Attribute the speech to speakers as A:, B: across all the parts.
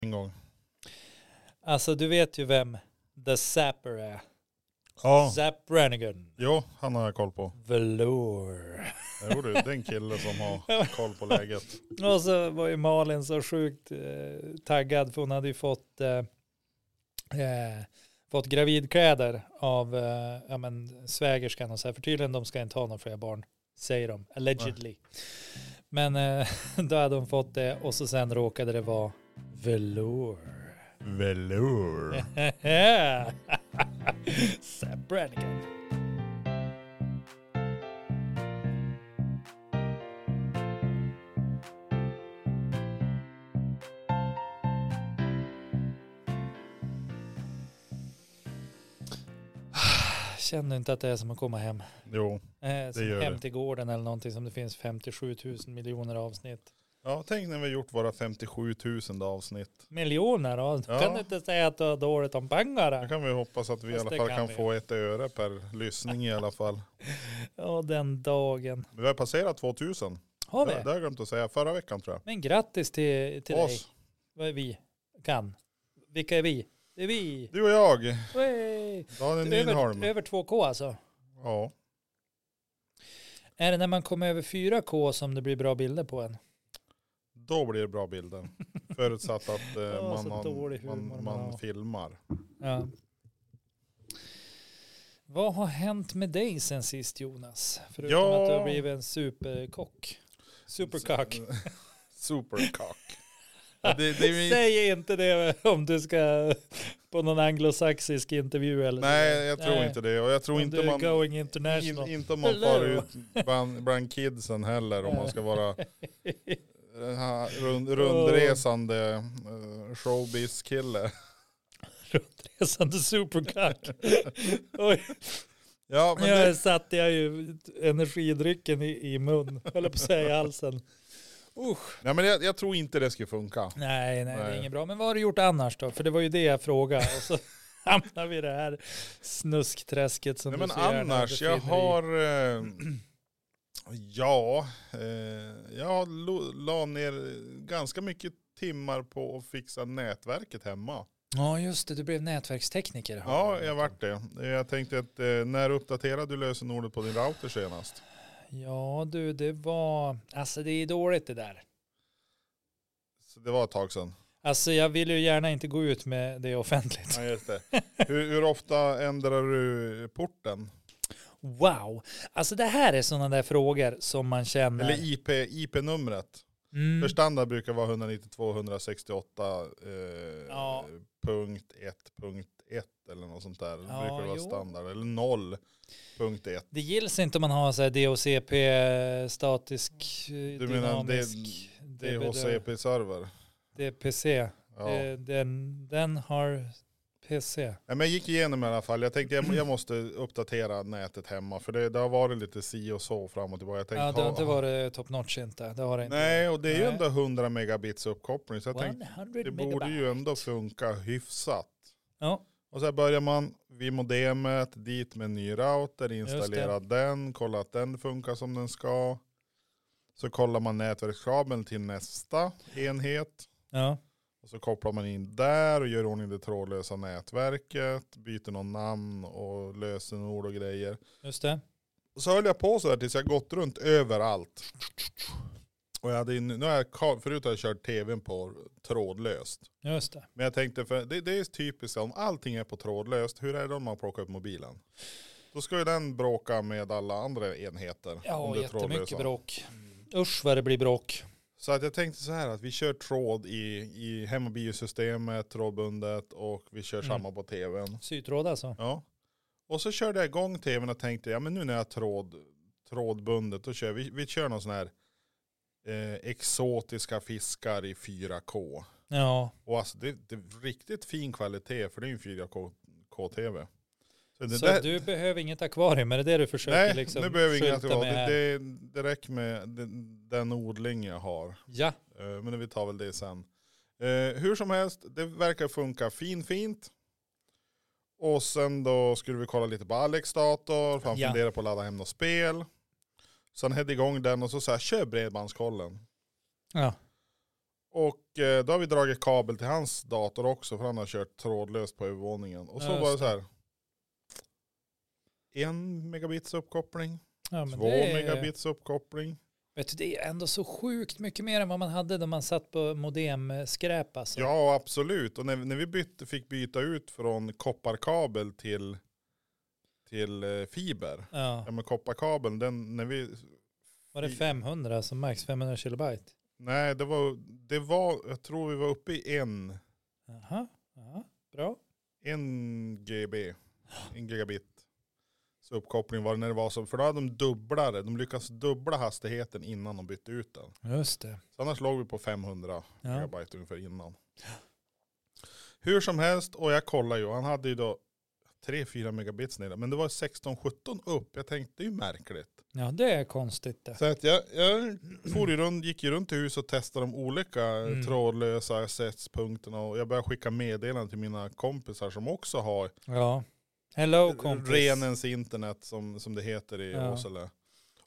A: en gång.
B: Alltså du vet ju vem The Zapper är.
A: Ja,
B: Zap Brannigan.
A: jo, han har jag koll på.
B: Velour.
A: Jo du, det är en kille som har koll på läget.
B: Och så var ju Malin så sjukt eh, taggad för hon hade ju fått, eh, eh, fått gravidkläder av eh, ja, men, svägerskan och så här. För tydligen de ska inte ha några fler barn, säger de. Allegedly. Men eh, då hade hon fått det och så sen råkade det vara velour.
A: Velour.
B: Sam Brannigan. Känner du inte att det är som att komma hem.
A: Jo.
B: Eh, som
A: gör
B: hem
A: det.
B: till gården eller någonting som det finns 57 000 miljoner avsnitt.
A: Ja, tänk när vi har gjort våra 57 000 avsnitt.
B: Miljoner? Ja.
A: Ja.
B: Kan du inte säga att du har dåligt om pengar?
A: Då kan vi hoppas att vi i
B: Fast
A: alla
B: det
A: fall
B: kan
A: kan
B: vi.
A: få ett öre per lyssning i alla fall.
B: Ja, den dagen.
A: Vi har passerat 2000.
B: Har
A: det,
B: vi?
A: det har jag glömt att säga förra veckan tror jag.
B: Men grattis till, till dig.
A: Oss,
B: Vad är vi? Kan. Vilka är vi? Det är vi.
A: du och jag,
B: Wey!
A: Daniel Nyholm.
B: Över, över 2K alltså.
A: Ja,
B: Är det när man kommer över 4K som det blir bra bilder på en?
A: då blir det bra bilder. Förutsatt att eh,
B: Ja,
A: man,
B: så
A: har,
B: dålig humor
A: man,
B: man
A: man
B: har.
A: filmar.
B: Ja. Vad har hänt med dig sen sist Jonas? Förutom
A: Ja.
B: att du har blivit en superkock. Superkock.
A: Supercock. Ja, det, det är ju
B: Säg inte det om du ska på någon anglosaxisk intervju eller så.
A: Nej, jag tror
B: Nej.
A: inte det. Och jag tror
B: Om
A: inte
B: du är
A: man,
B: going
A: in,
B: international.
A: inte om man
B: Hello.
A: far ut bland, bland kidsen heller. Om man ska vara den här rund, rundresande eh, showbiz-kille.
B: Rundresande superkock. Oj,
A: Ja, men
B: jag
A: det,
B: satte jag ju energidrycken i, i mun, höll jag på att säga i halsen. Usch.
A: nej, men jag, jag tror inte det skulle funka.
B: Nej, nej, det
A: Nej.
B: är inget bra. Men vad har du gjort annars då? För det var ju det jag frågade. Och så hamnar vi i det här snuskträsket som
A: Nej, men
B: du så gärna
A: annars,
B: befinner
A: jag
B: dig i.
A: har... Eh, ja, eh, jag lo- la ner ganska mycket timmar på att fixa nätverket hemma.
B: Ja, just det. Du blev nätverkstekniker.
A: Ja, jag vart det. Eh, Jag tänkte att eh, när uppdaterade du lösenordet på din router senast?
B: Ja, du, det var... Alltså det är dåligt det där.
A: Så det var ett tag sedan.
B: Alltså jag vill ju gärna inte gå ut med det offentligt.
A: Ja, just det. Hur, hur ofta ändrar du porten?
B: Wow. Alltså det här är sådana där frågor som man känner...
A: Eller IP, IP-numret?
B: Mm.
A: För standard brukar vara 192 168 eh,
B: Ja.
A: punkt 1 punkt 1 eller något sånt där. Det
B: Ja,
A: brukar vara
B: jo.
A: standard. Eller 0 punkt 1.
B: Det gills inte om man har så här DOCP eh, statisk eh,
A: Du menar D-
B: dynamisk
A: Det är HCP-server.
B: DPC.
A: Ja.
B: Det- Den, den har PC.
A: Nej, men jag gick igenom i alla fall. Jag tänkte jag, jag måste uppdatera nätet hemma. För det, det har varit lite si och så fram och tillbaka. Jag tänkte,
B: Ja, det har
A: ha-
B: inte varit top notch inte. Det har det inte.
A: Nej, och det är ju
B: Nej.
A: ändå 100 megabits uppkoppling. Så jag tänkte
B: 100
A: det
B: megabyte.
A: borde ju ändå funka hyfsat.
B: Ja.
A: Och så här börjar man vid modemet, dit med en ny router, installera den, kolla att den funkar som den ska. Så kollar man nätverkskabeln till nästa enhet.
B: Ja.
A: Och så kopplar man in där och gör i ordning det trådlösa nätverket, byter någon namn och lösenord och grejer.
B: Just det.
A: Och så höll jag på så här tills jag gått runt överallt. Och jag hade, ju- nu har jag, ka- förut har jag kört tvn på trådlöst.
B: Just det.
A: Men jag tänkte, för det, det är typiskt om allting är på trådlöst, hur är det om man plockar upp mobilen? Då ska ju den bråka med alla andra enheter. om
B: Ja,
A: det är
B: jättemycket
A: trådlösa.
B: bråk. Usch vad det blir bråk.
A: Så att jag tänkte så här att vi kör tråd i, i hem och biosystemet, trådbundet och vi kör
B: Mm.
A: samma på tvn.
B: Sytråd alltså.
A: Ja. Och så körde jag igång tvn och tänkte, ja men nu när jag har tråd, trådbundet, då kör vi, vi kör någon sån här eh, exotiska fiskar i 4K.
B: Ja.
A: Och alltså det, det är riktigt fin kvalitet för det är ju en 4K-tv. Så det,
B: Så
A: där-
B: du behöver inget akvarium, är det det du försöker
A: nej,
B: liksom
A: nu behöver jag inga
B: skylta
A: tråd.
B: med
A: Det,
B: här?
A: det, det räcker med den, den odling jag har.
B: Ja,
A: Eh, Men vi tar väl det sen. Eh, hur som helst, det verkar funka fin fint. Och sen då skulle vi kolla lite på Alex dator, för han
B: Ja.
A: funderar på att ladda hem något spel. Sen hade igång den och så sa jag, kör bredbandskollen.
B: Ja.
A: Och eh, då har vi dragit kabel till hans dator också för han har kört trådlöst på övervåningen. Och så
B: Ja, just
A: var det
B: det.
A: så här. En megabits uppkoppling,
B: Ja, men
A: två
B: det är-
A: megabits uppkoppling.
B: Vet du, det är ändå så sjukt mycket mer än vad man hade när man satt på modemskräp. Alltså.
A: Ja absolut. Och när, när vi bytte, fick byta ut från kopparkabel till, till eh, fiber.
B: Ja.
A: Ja men kopparkabeln, den, när vi,
B: Var det 500 som max 500 kilobyte?
A: nej det var, det var, jag tror vi var uppe i en,
B: Jaha, ja, bra.
A: en GB, en gigabit. Så uppkoppling var det när det var så, för då hade de dubblare, de lyckades dubbla hastigheten innan de bytte ut den.
B: Just det.
A: Så annars låg vi på 500
B: Ja.
A: megabyte ungefär innan. Hur som helst, och jag kollar ju, han hade ju då 3-4 megabits nere, men det var 16-17 upp. Jag tänkte det är ju märkligt.
B: ja, det är konstigt det.
A: Så att jag, jag for ju runt, gick ju runt i huset och testade de olika
B: Mm.
A: trådlösa accesspunkterna och jag började skicka meddelanden till mina kompisar som också har
B: Ja. Hello kompis.
A: renens internet som, som det heter i
B: Ja.
A: Åsele.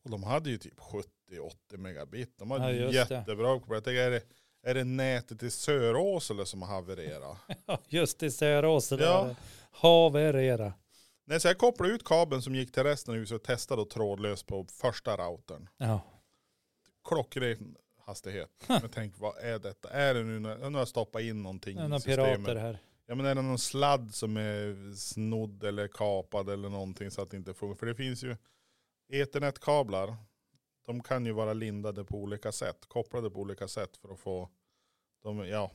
A: Och de hade ju typ 70-80 megabit. De hade
B: Ja, just det.
A: jättebra uppkoppling. Jag tänker, är det, är det nätet i Söråsele som har havererat?
B: Ja, Just i Söråsele.
A: Ja.
B: Ja. Haverera.
A: Nej, så jag kopplade ut kabeln som gick till resten av huset och testade och trådlöst på första routern.
B: Ja.
A: klockren hastighet. Men tänk vad är detta? Är det nu när, nu har jag stoppat in någonting
B: Det är
A: i
B: Några
A: systemet?
B: pirater här.
A: Ja men är det någon sladd som är snodd eller kapad eller någonting så att det inte funkar? För det finns ju eternetkablar. De kan ju vara lindade på olika sätt, kopplade på olika sätt för att få de, ja,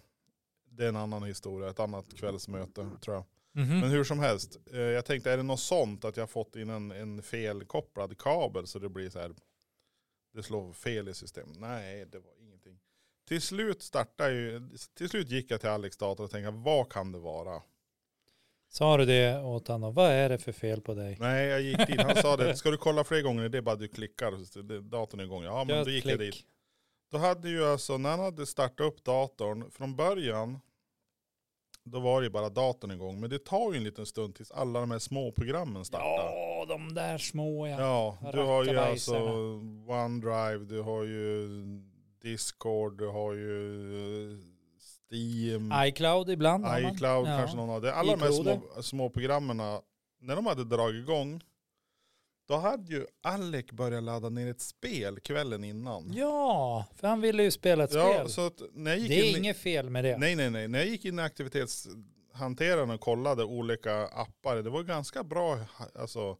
A: det är en annan historia, ett annat kvällsmöte tror jag.
B: Mhm.
A: Men hur som helst, eh, jag tänkte är det något sånt att jag fått in en, en felkopplad kabel så det blir så här, det slår fel i systemet. Nej, det var ingenting. Till slut startade ju, till slut gick jag till Alex dator och tänkte vad kan det vara?
B: Sa du det åt honom? Vad är det för fel på dig?
A: Nej, jag gick dit, han sa det, ska du kolla fler gånger, det är bara du klickar, så det- datorn är igång. Ja, men
B: Gör
A: då gick
B: klick.
A: jag dit. Då hade ju alltså, när han hade startat upp datorn, från början, då var det ju bara datorn igång. Men det tar ju en liten stund tills alla de här små programmen startar.
B: Ja, de där små ja.
A: Ja, du har ju alltså
B: Rackabajsarna.
A: OneDrive, du har ju Discord, du har ju eh, Steam,
B: iCloud ibland. har man.
A: iCloud
B: Ja.
A: kanske någon av det. Alla de här
B: iCloud.
A: små, små programmen, när de hade dragit igång, då hade ju Alec börjat ladda ner ett spel kvällen innan.
B: Ja, för han ville ju spela ett
A: Ja,
B: spel.
A: så att när jag gick
B: Det är
A: in,
B: inget fel med det.
A: Nej, nej, nej. När jag gick in i aktivitetshanteraren och kollade olika appar, det var ganska bra, alltså,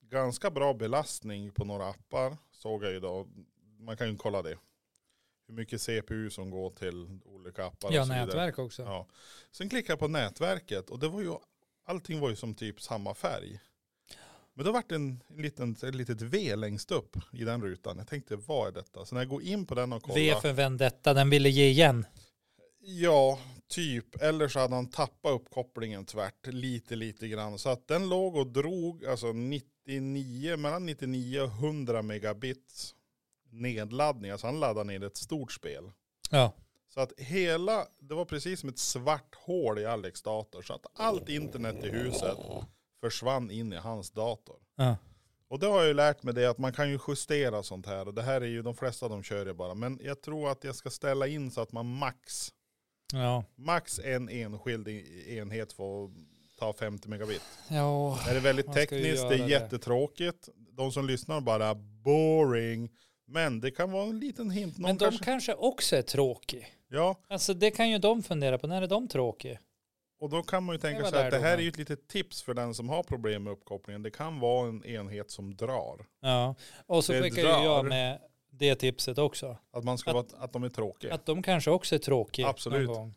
A: ganska bra belastning på några appar, såg jag idag. Man kan ju kolla det. Hur mycket CPU som går till olika appar
B: ja,
A: och så vidare.
B: nätverk också.
A: Ja. Sen klickade jag på nätverket och det var ju, allting var ju som typ samma färg. Men då vart det en, en liten, ett litet V längst upp i den rutan. Jag tänkte, vad är detta? Så när jag går in på den och kollar.
B: V för Vendetta, den ville ge igen.
A: Ja, typ. Eller så hade han tappat uppkopplingen tvärt lite, lite grann. Så att den låg och drog alltså 99, mellan 99 och 100 megabits nedladdning. Alltså han laddade ner ett stort spel.
B: Ja.
A: Så att hela, det var precis som ett svart hål i Alex dator. Så att allt internet i huset försvann in i hans dator.
B: ja.
A: Och det har jag ju lärt mig det att man kan ju justera sånt här. Och det här är ju, de flesta de kör ju bara. Men jag tror att jag ska ställa in så att man max
B: Ja.
A: Max en enskild i- enhet får ta 50 megabit.
B: ja.
A: Det är väldigt
B: Man ska ju
A: tekniskt,
B: göra
A: det är
B: det.
A: jättetråkigt. De som lyssnar bara boring. Men det kan vara en liten hint. Någon
B: Men de
A: kanske,
B: kanske också är tråkiga.
A: Ja,
B: Alltså det kan ju de fundera på. När är de tråkiga?
A: och då kan man ju tänka
B: var
A: sig att det här är
B: lärdomen.
A: ju ett litet tips för den som har problem med uppkopplingen. Det kan vara en enhet som drar.
B: Ja. Och så
A: Det
B: skickar ju jag
A: drar.
B: med det tipset också.
A: Att, man ska vara, att de är tråkiga.
B: Att de kanske också är tråkiga.
A: Absolut.
B: någon gång.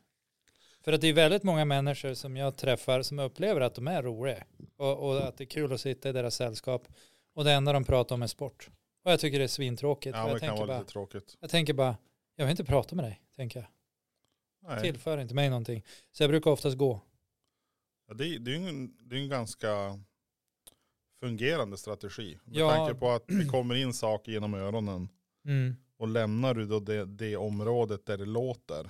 B: För att det är väldigt många människor som jag träffar som upplever att de är roliga. Och, och att det är kul att sitta i deras sällskap. Och det enda de pratar om är sport. Och jag tycker det är svintråkigt.
A: ja,
B: Och
A: men
B: jag,
A: det kan
B: tänker
A: vara
B: bara,
A: lite tråkigt.
B: jag tänker bara, jag vill inte prata med dig, tänker jag.
A: Nej.
B: Tillför inte mig någonting. Så jag brukar oftast gå.
A: Ja, Det, det, är ju en, det är en ganska fungerande strategi. Med
B: Ja.
A: tanke på att det kommer in saker genom öronen.
B: Mm.
A: Och lämnar du då det, det området där det låter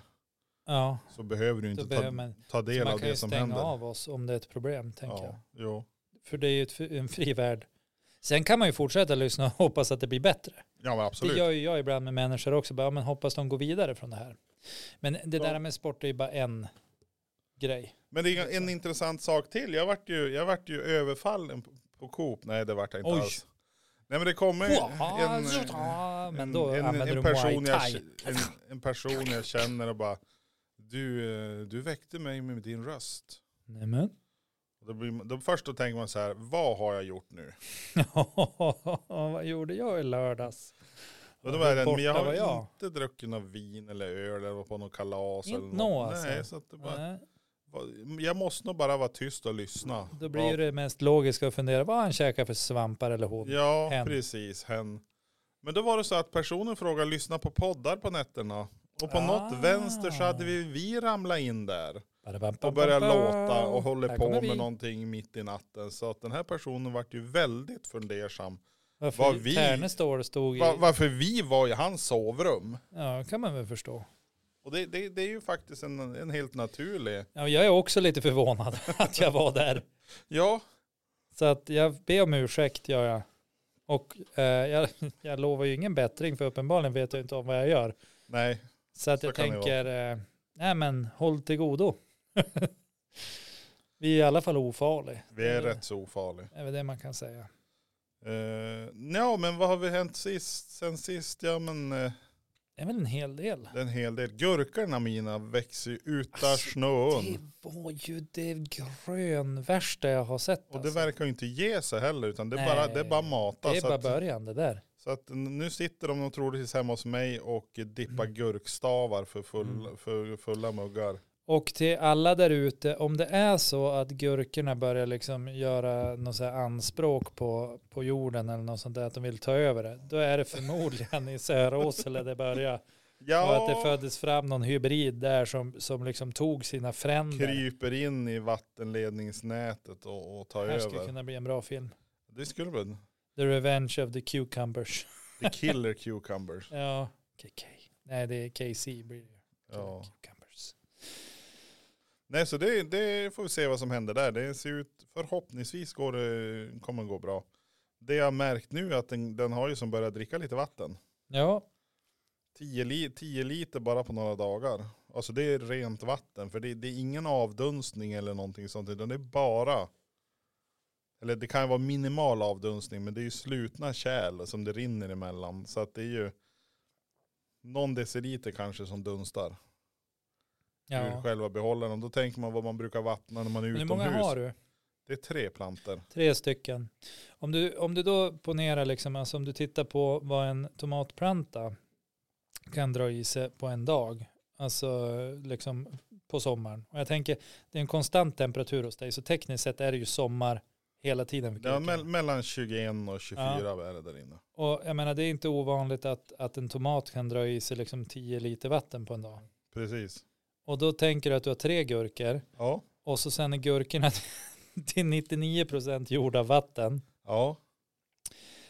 B: Ja,
A: så behöver du
B: då
A: inte
B: behöver
A: ta,
B: man.
A: ta
B: Så
A: del
B: man
A: av
B: kan ju
A: det som
B: stänga
A: händer.
B: av oss om det är ett problem, tänker jag.
A: jo.
B: För det är ju ett, fri- en fri värld. Sen kan man ju fortsätta lyssna och hoppas att det blir bättre.
A: ja men
B: Det
A: absolut.
B: gör ju jag ibland med människor också. Bara, ja, men hoppas de går vidare från det här. Men det där med sport är ju bara en grej.
A: Men det är en intressant sak till. Jag vart ju, jag vart ju överfallen på- på Coop. Nej det vart jag inte
B: Oj.
A: alls. Nej men det kom en, en,
B: men då
A: en, en,
B: använder
A: en,
B: du
A: person
B: muay
A: jag,
B: thai.
A: k- en, en person jag känner och bara du, eh, du väckte mig med din röst.
B: Nämen.
A: Och Då blir, man- då först då tänker man så här, vad har jag gjort nu?
B: vad gjorde jag i lördags?
A: Och då var den, men jag
B: borta
A: har
B: var jag.
A: inte druckit något vin eller öl eller var på något kalas.
B: Inte
A: eller
B: nå,
A: något.
B: alltså.
A: Nej, så att det bara,
B: Nej,
A: vad- jag måste nog bara vara tyst och lyssna.
B: Då blir ju det mest logiska att fundera vad han käkar för svampar eller hon.
A: Ja,
B: Hen.
A: precis. Hen. Men då var det så att personen frågade lyssna på poddar på nätterna. Och på
B: Ah.
A: något vänster så hade vi, vi ramlat in där och
B: börjar
A: började låta och håller på med
B: vi.
A: någonting mitt i natten. Så att den här personen vart ju väldigt fundersam.
B: Varför
A: vad vi-
B: Tärnestål stod i.
A: Va- varför vi var i hans sovrum.
B: Ja, kan man väl förstå.
A: Och det, det, det är ju faktiskt en, en helt naturlig.
B: Ja, jag är också lite förvånad att jag var där.
A: Ja,
B: Så att jag ber om ursäkt gör jag. Och eh, jag, jag lovar ju ingen bättring för uppenbarligen vet jag inte om vad jag gör.
A: nej.
B: Så att
A: Så
B: jag
A: kan det
B: tänker, eh, nej men håll till godo. Vi är i alla fall ofarlig.
A: Vi är
B: Det
A: rätt så ofarliga.
B: är väl det man kan säga.
A: Uh, ja, men vad har vi hänt sist, sen sist? Ja, men eh,
B: Det är väl en hel del.
A: det är en hel del. Gurkorna mina växer ju utan
B: Alltså, Det
A: snön.
B: var ju det grönvärsta jag har sett.
A: Och det
B: alltså.
A: verkar ju inte ge sig heller, utan det är,
B: Nej,
A: bara, det är bara matas.
B: det är
A: så,
B: bara
A: att,
B: början det där.
A: så att nu sitter de nog troligtvis hemma hos mig och dippar
B: Mm.
A: gurkstavar för, full,
B: Mm.
A: för fulla muggar.
B: Och till alla där ute, om det är så att gurkorna börjar liksom göra något så här anspråk på, på jorden eller något sånt där, att de vill ta över det, då är det förmodligen i Söråsele det börjar. Och att det
A: Ja,
B: föddes fram någon hybrid där som, som liksom tog sina fränder.
A: kryper in i vattenledningsnätet och, och tar
B: Det här skulle
A: över.
B: kunna bli en bra film.
A: Det skulle bli
B: The Revenge of the Cucumbers.
A: The Killer Cucumbers.
B: Ja, KK. Nej, det är KC blir det ju.
A: Ja.
B: Cucumbers.
A: Nej, så det, det får vi se vad som händer där. Det ser ut, förhoppningsvis går det, kommer det gå bra. Det jag har märkt nu är att den, den har ju som börjat dricka lite vatten.
B: Ja,
A: 10 li, 10 liter bara på några dagar. Alltså det är rent vatten, för det, det är ingen avdunstning eller någonting sånt, utan det är bara, eller det kan ju vara minimal avdunstning, men det är ju slutna kärl som det rinner emellan. Så att det är ju någon deciliter kanske som dunstar ur
B: ja.
A: själva behållaren. Då tänker man vad man brukar vattna när man är
B: Men hur
A: utomhus.
B: många har du?
A: Det är tre planter.
B: Tre stycken. Om du, om du då ponerar, liksom, alltså om du tittar på vad en tomatplanta kan dra i sig på en dag, alltså liksom på sommaren. Och jag tänker, det är en konstant temperatur hos dig, så tekniskt sett är det ju sommar hela tiden. för
A: Ja,
B: kuken.
A: mell- mellan 21 och 24 är det där inne.
B: Och jag menar, det är inte ovanligt att, att en tomat kan dra i sig liksom 10 liter vatten på en dag.
A: Precis.
B: Och då tänker du att du har tre gurkor,
A: Ja.
B: och så sen är gurkorna till 99% gjorda av vatten.
A: Ja.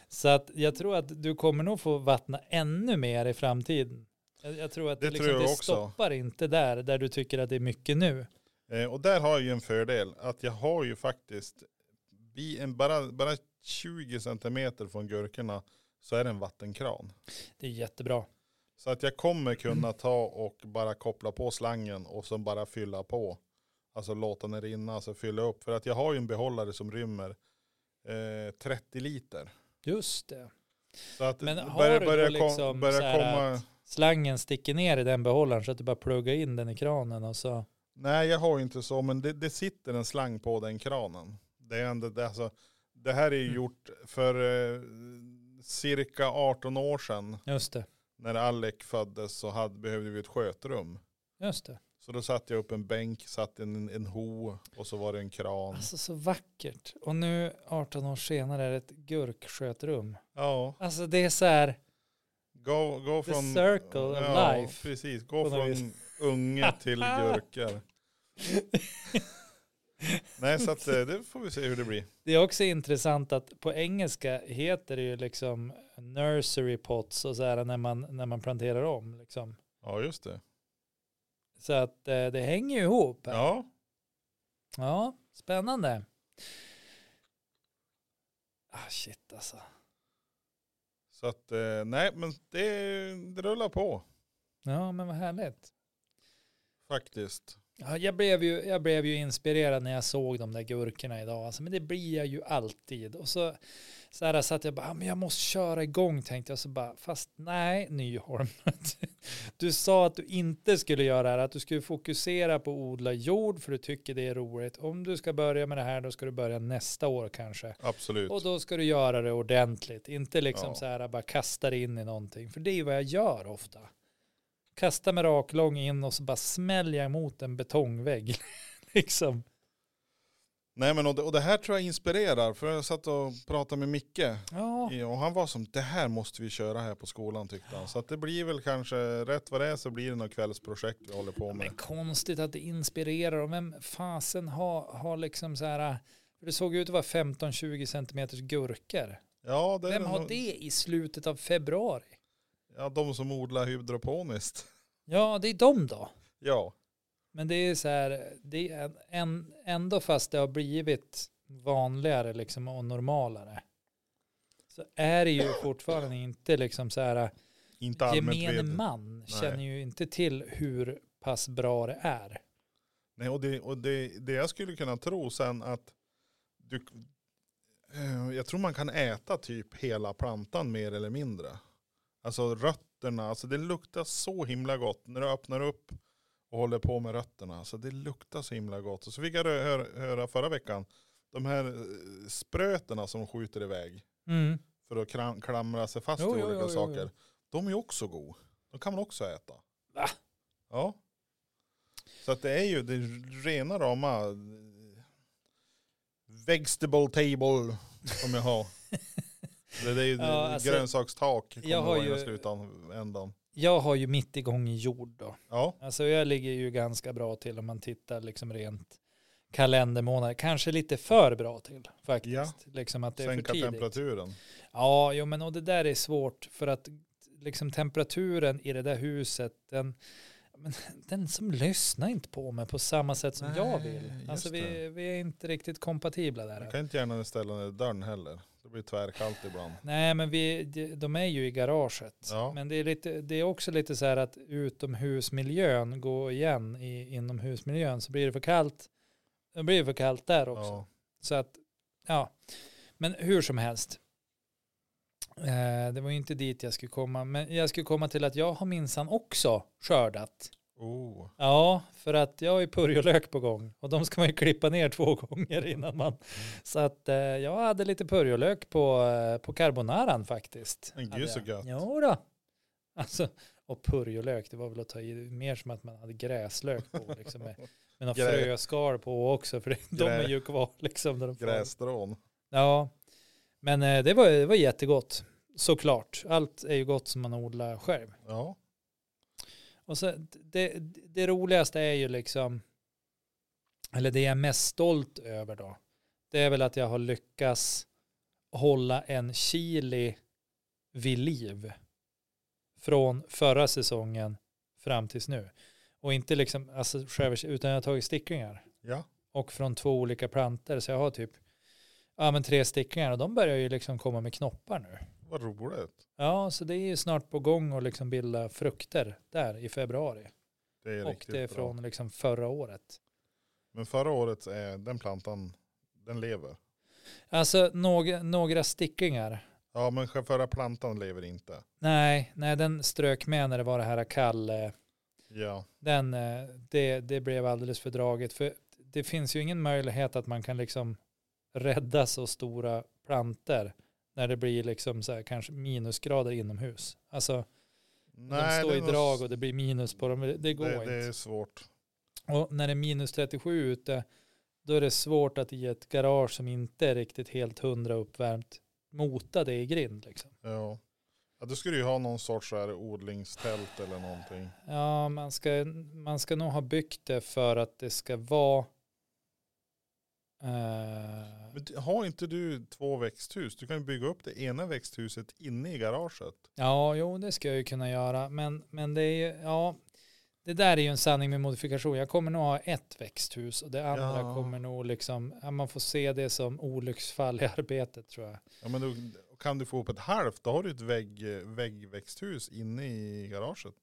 B: Så att jag tror att du kommer nog få vattna ännu mer i framtiden. Jag, jag tror att det,
A: Det
B: liksom,
A: tror jag
B: det
A: också.
B: stoppar inte där, där du tycker att det är mycket nu.
A: Eh, och där har jag ju en fördel. Att jag har ju faktiskt, bi- en, bara, bara 20 centimeter från gurkorna så är det en vattenkran.
B: Det är jättebra.
A: Så att jag kommer kunna
B: Mm.
A: ta och bara koppla på slangen och sen bara fylla på. Alltså låta den rinna, alltså fylla upp. För att jag har ju en behållare som rymmer eh, 30 liter.
B: Just det.
A: Så att
B: Men
A: det
B: har du då
A: kom-
B: liksom
A: börjar
B: så här
A: komma...
B: Slangen sticker ner i den behållaren så att du bara pluggar in den i kranen och så.
A: Nej, jag har ju inte så, men det, det sitter en slang på den kranen. Det, är ändå, det, alltså, det här är ju
B: Mm.
A: gjort för eh, cirka 18 år sedan.
B: Just det.
A: När Alec föddes så hade, behövde vi ett skötrum.
B: Just det.
A: Så då satte jag upp en bänk, satte en, en ho och så var det en kran.
B: Alltså så vackert. Och nu 18 år senare är det ett gurkskötrum.
A: Ja,
B: Alltså det är så här,
A: gå, gå
B: The
A: från...
B: circle of
A: ja,
B: life.
A: precis. Gå
B: På något
A: från unge till gurkor. Nej, så att, eh, det får vi se hur det blir.
B: det är också intressant att på engelska heter det ju liksom nursery pots och så här när man, när man planterar om liksom.
A: Ja, just det.
B: Så att eh, det hänger ju ihop. här.
A: Ja.
B: ja spännande. Ah, shit alltså.
A: Så att eh, nej, men det, det rullar på.
B: Ja, men vad härligt.
A: Faktiskt.
B: Ja, jag, blev ju, jag blev ju inspirerad när jag såg de där gurkorna idag. Alltså, men det blir jag ju alltid. Och så, så här satt jag bara, ah, men jag måste köra igång tänkte jag. Så bara, fast nej Nyholm. du sa att du inte skulle göra det här. Att du skulle fokusera på att odla jord för du tycker det är roligt. Om du ska börja med det här då ska du börja nästa år kanske.
A: Absolut.
B: Och då ska du göra det ordentligt. Inte liksom
A: Ja.
B: så här bara kasta dig in i någonting. För det är ju vad jag gör ofta. Kasta mig raklång in och så bara smäller jag emot en betongvägg. liksom.
A: Nej men och det, och det här tror jag inspirerar. För jag satt och pratade med Micke.
B: Ja,
A: i- Och han var som, det här måste vi köra här på skolan tyckte han. Så att det blir väl kanske, rätt vad det är så blir det något kvällsprojekt vi håller på
B: men
A: med.
B: konstigt att det inspirerar. Och vem fasen har, har liksom så här. för Det såg ut att vara 15-20 centimeters gurkor.
A: Ja, det är
B: Vem
A: det
B: har
A: nog-
B: det i slutet av februari?
A: Ja, de som odlar hydroponiskt.
B: Ja, det är de då.
A: Ja,
B: Men det är så här, det är en, en, ändå fast det har blivit vanligare liksom och normalare så är det ju fortfarande inte liksom så här,
A: inte allmänt
B: gemene
A: ved.
B: man känner ju inte till hur pass bra det är.
A: Nej, och det, och det, det jag skulle kunna tro sen att du, eh, jag tror man kan äta typ hela plantan mer eller mindre. Alltså rötterna, alltså det luktar så himla gott när du öppnar upp och håller på med rötterna. Alltså det luktar så himla gott. Och så fick jag rö- hör, höra förra veckan, de här eh, sprötena som skjuter iväg
B: Mm.
A: för att kram, klamra sig fast
B: Jo,
A: i
B: jo,
A: olika
B: jo, jo, jo.
A: saker. De är också god. De kan man också äta.
B: Va?
A: Ja. Så att det är ju det är rena rama vegetable table som jag har. det, det är ju
B: Ja, alltså,
A: grönsakstak kommer
B: jag
A: jag
B: har
A: har
B: ju-
A: i slutändan.
B: Jag har ju mitt igång i jord då.
A: Ja,
B: Alltså jag ligger ju ganska bra till om man tittar liksom rent kalendermånader. Kanske lite för bra till faktiskt.
A: Ja.
B: Liksom att det är
A: sänka
B: för tidigt.
A: temperaturen.
B: Ja, jo, men och det där är svårt för att liksom temperaturen i det där huset, den, men, den som lyssnar inte på mig på samma sätt som jag
A: Nej,
B: vill.
A: just
B: Alltså vi,
A: det.
B: vi är inte riktigt kompatibla
A: Jag
B: där.
A: kan inte gärna ställa ner dörren heller. Det blir tvärkallt ibland.
B: Nej, men vi, de är ju i garaget.
A: Ja.
B: Men det är, lite, det är också lite så här att utomhusmiljön går igen i inomhusmiljön så blir det för kallt. Då blir det för kallt där också.
A: Ja.
B: Så att, ja. Men hur som helst. Eh, det var ju inte dit jag skulle komma. Men jag skulle komma till att jag har minsann också skördat.
A: Oh.
B: Ja, för att jag har ju purjolök på gång. Och de ska man ju klippa ner två gånger innan
A: Mm.
B: man. Så att eh, jag hade lite purjolök på, eh, på carbonaran faktiskt.
A: Men gud,
B: Hade jag.
A: så gött.
B: Jo då. Alltså, och purjolök, det var väl att ta i mer som att man hade gräslök på. Liksom, med, med några
A: Grä-
B: fröskal på också, för det, de
A: Grä-
B: är ju kvar liksom. När de får-
A: Grässtrån.
B: Ja, men eh, det var, det var jättegott. Såklart. Allt är ju gott som man odlar själv.
A: Ja.
B: Och så, det, det roligaste är ju liksom, eller det jag är mest stolt över då, det är väl att jag har lyckats hålla en chili vid liv från förra säsongen fram tills nu. Och inte liksom, alltså, skär- utan jag har tagit sticklingar
A: ja.
B: och från två olika planter. Så jag har typ ja, men tre sticklingar och de börjar ju liksom komma med knoppar nu.
A: Vad roligt.
B: Ja, så det är ju snart på gång att liksom bilda frukter där i februari.
A: Det är
B: och
A: riktigt
B: det är
A: bra.
B: från liksom förra året.
A: Men förra året är den plantan, den lever.
B: Alltså några, några sticklingar.
A: Ja men förra plantan lever inte.
B: Nej, nej, den strök med när det var det här kall.
A: Ja.
B: Den, eh, det, det blev alldeles för draget. För det finns ju ingen möjlighet att man kan liksom rädda så stora planter när det blir liksom så här kanske minusgrader inomhus. Alltså de står
A: det
B: i
A: är nog-
B: drag och det blir minus på dem. Det går
A: det,
B: inte.
A: det är svårt.
B: Och när det är minus 37 ute, då är det svårt att i ett garage som inte är riktigt helt hundra uppvärmt mota det i grind. Liksom.
A: Ja. ja, då skulle du ju ha någon sorts så här odlingstält eller någonting.
B: Ja, man ska, man ska nog ha byggt det för att det ska vara... eh,
A: Men du- har inte du två växthus? Du kan ju bygga upp det ena växthuset inne i garaget.
B: ja, jo, det ska jag ju kunna göra. Men, men det är ju, ja, det där är ju en sanning med modifikation. Jag kommer nog ha ett växthus och det andra
A: Ja.
B: kommer nog liksom, ja, man får se det som olycksfall i arbetet tror jag.
A: Ja, men då kan du få upp ett halvt, då har du ett vägg, väggväxthus inne i garaget.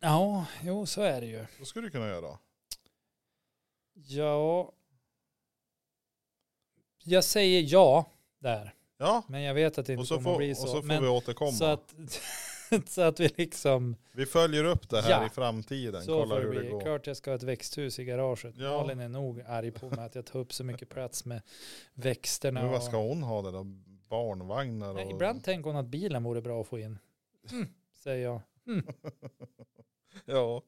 B: Ja, jo så är det ju.
A: Vad skulle du kunna göra?
B: Ja. Jag säger ja där.
A: Ja,
B: Men jag vet att det
A: och
B: inte
A: så
B: kommer
A: får,
B: att bli
A: och
B: så.
A: så får
B: Men
A: vi återkomma.
B: så, att, så att vi liksom.
A: vi följer upp det här
B: Ja.
A: i framtiden.
B: så
A: Kollar
B: får det
A: hur det
B: bli.
A: går.
B: Klart jag ska ha ett växthus i garaget.
A: Ja.
B: Malin är nog arg på mig att jag tar upp så mycket plats med växterna.
A: Men vad
B: och-
A: ska hon ha det då? Barnvagnar och...
B: Nej, ibland tänker hon att bilen vore bra att få in. Mm, säger jag.
A: Ja.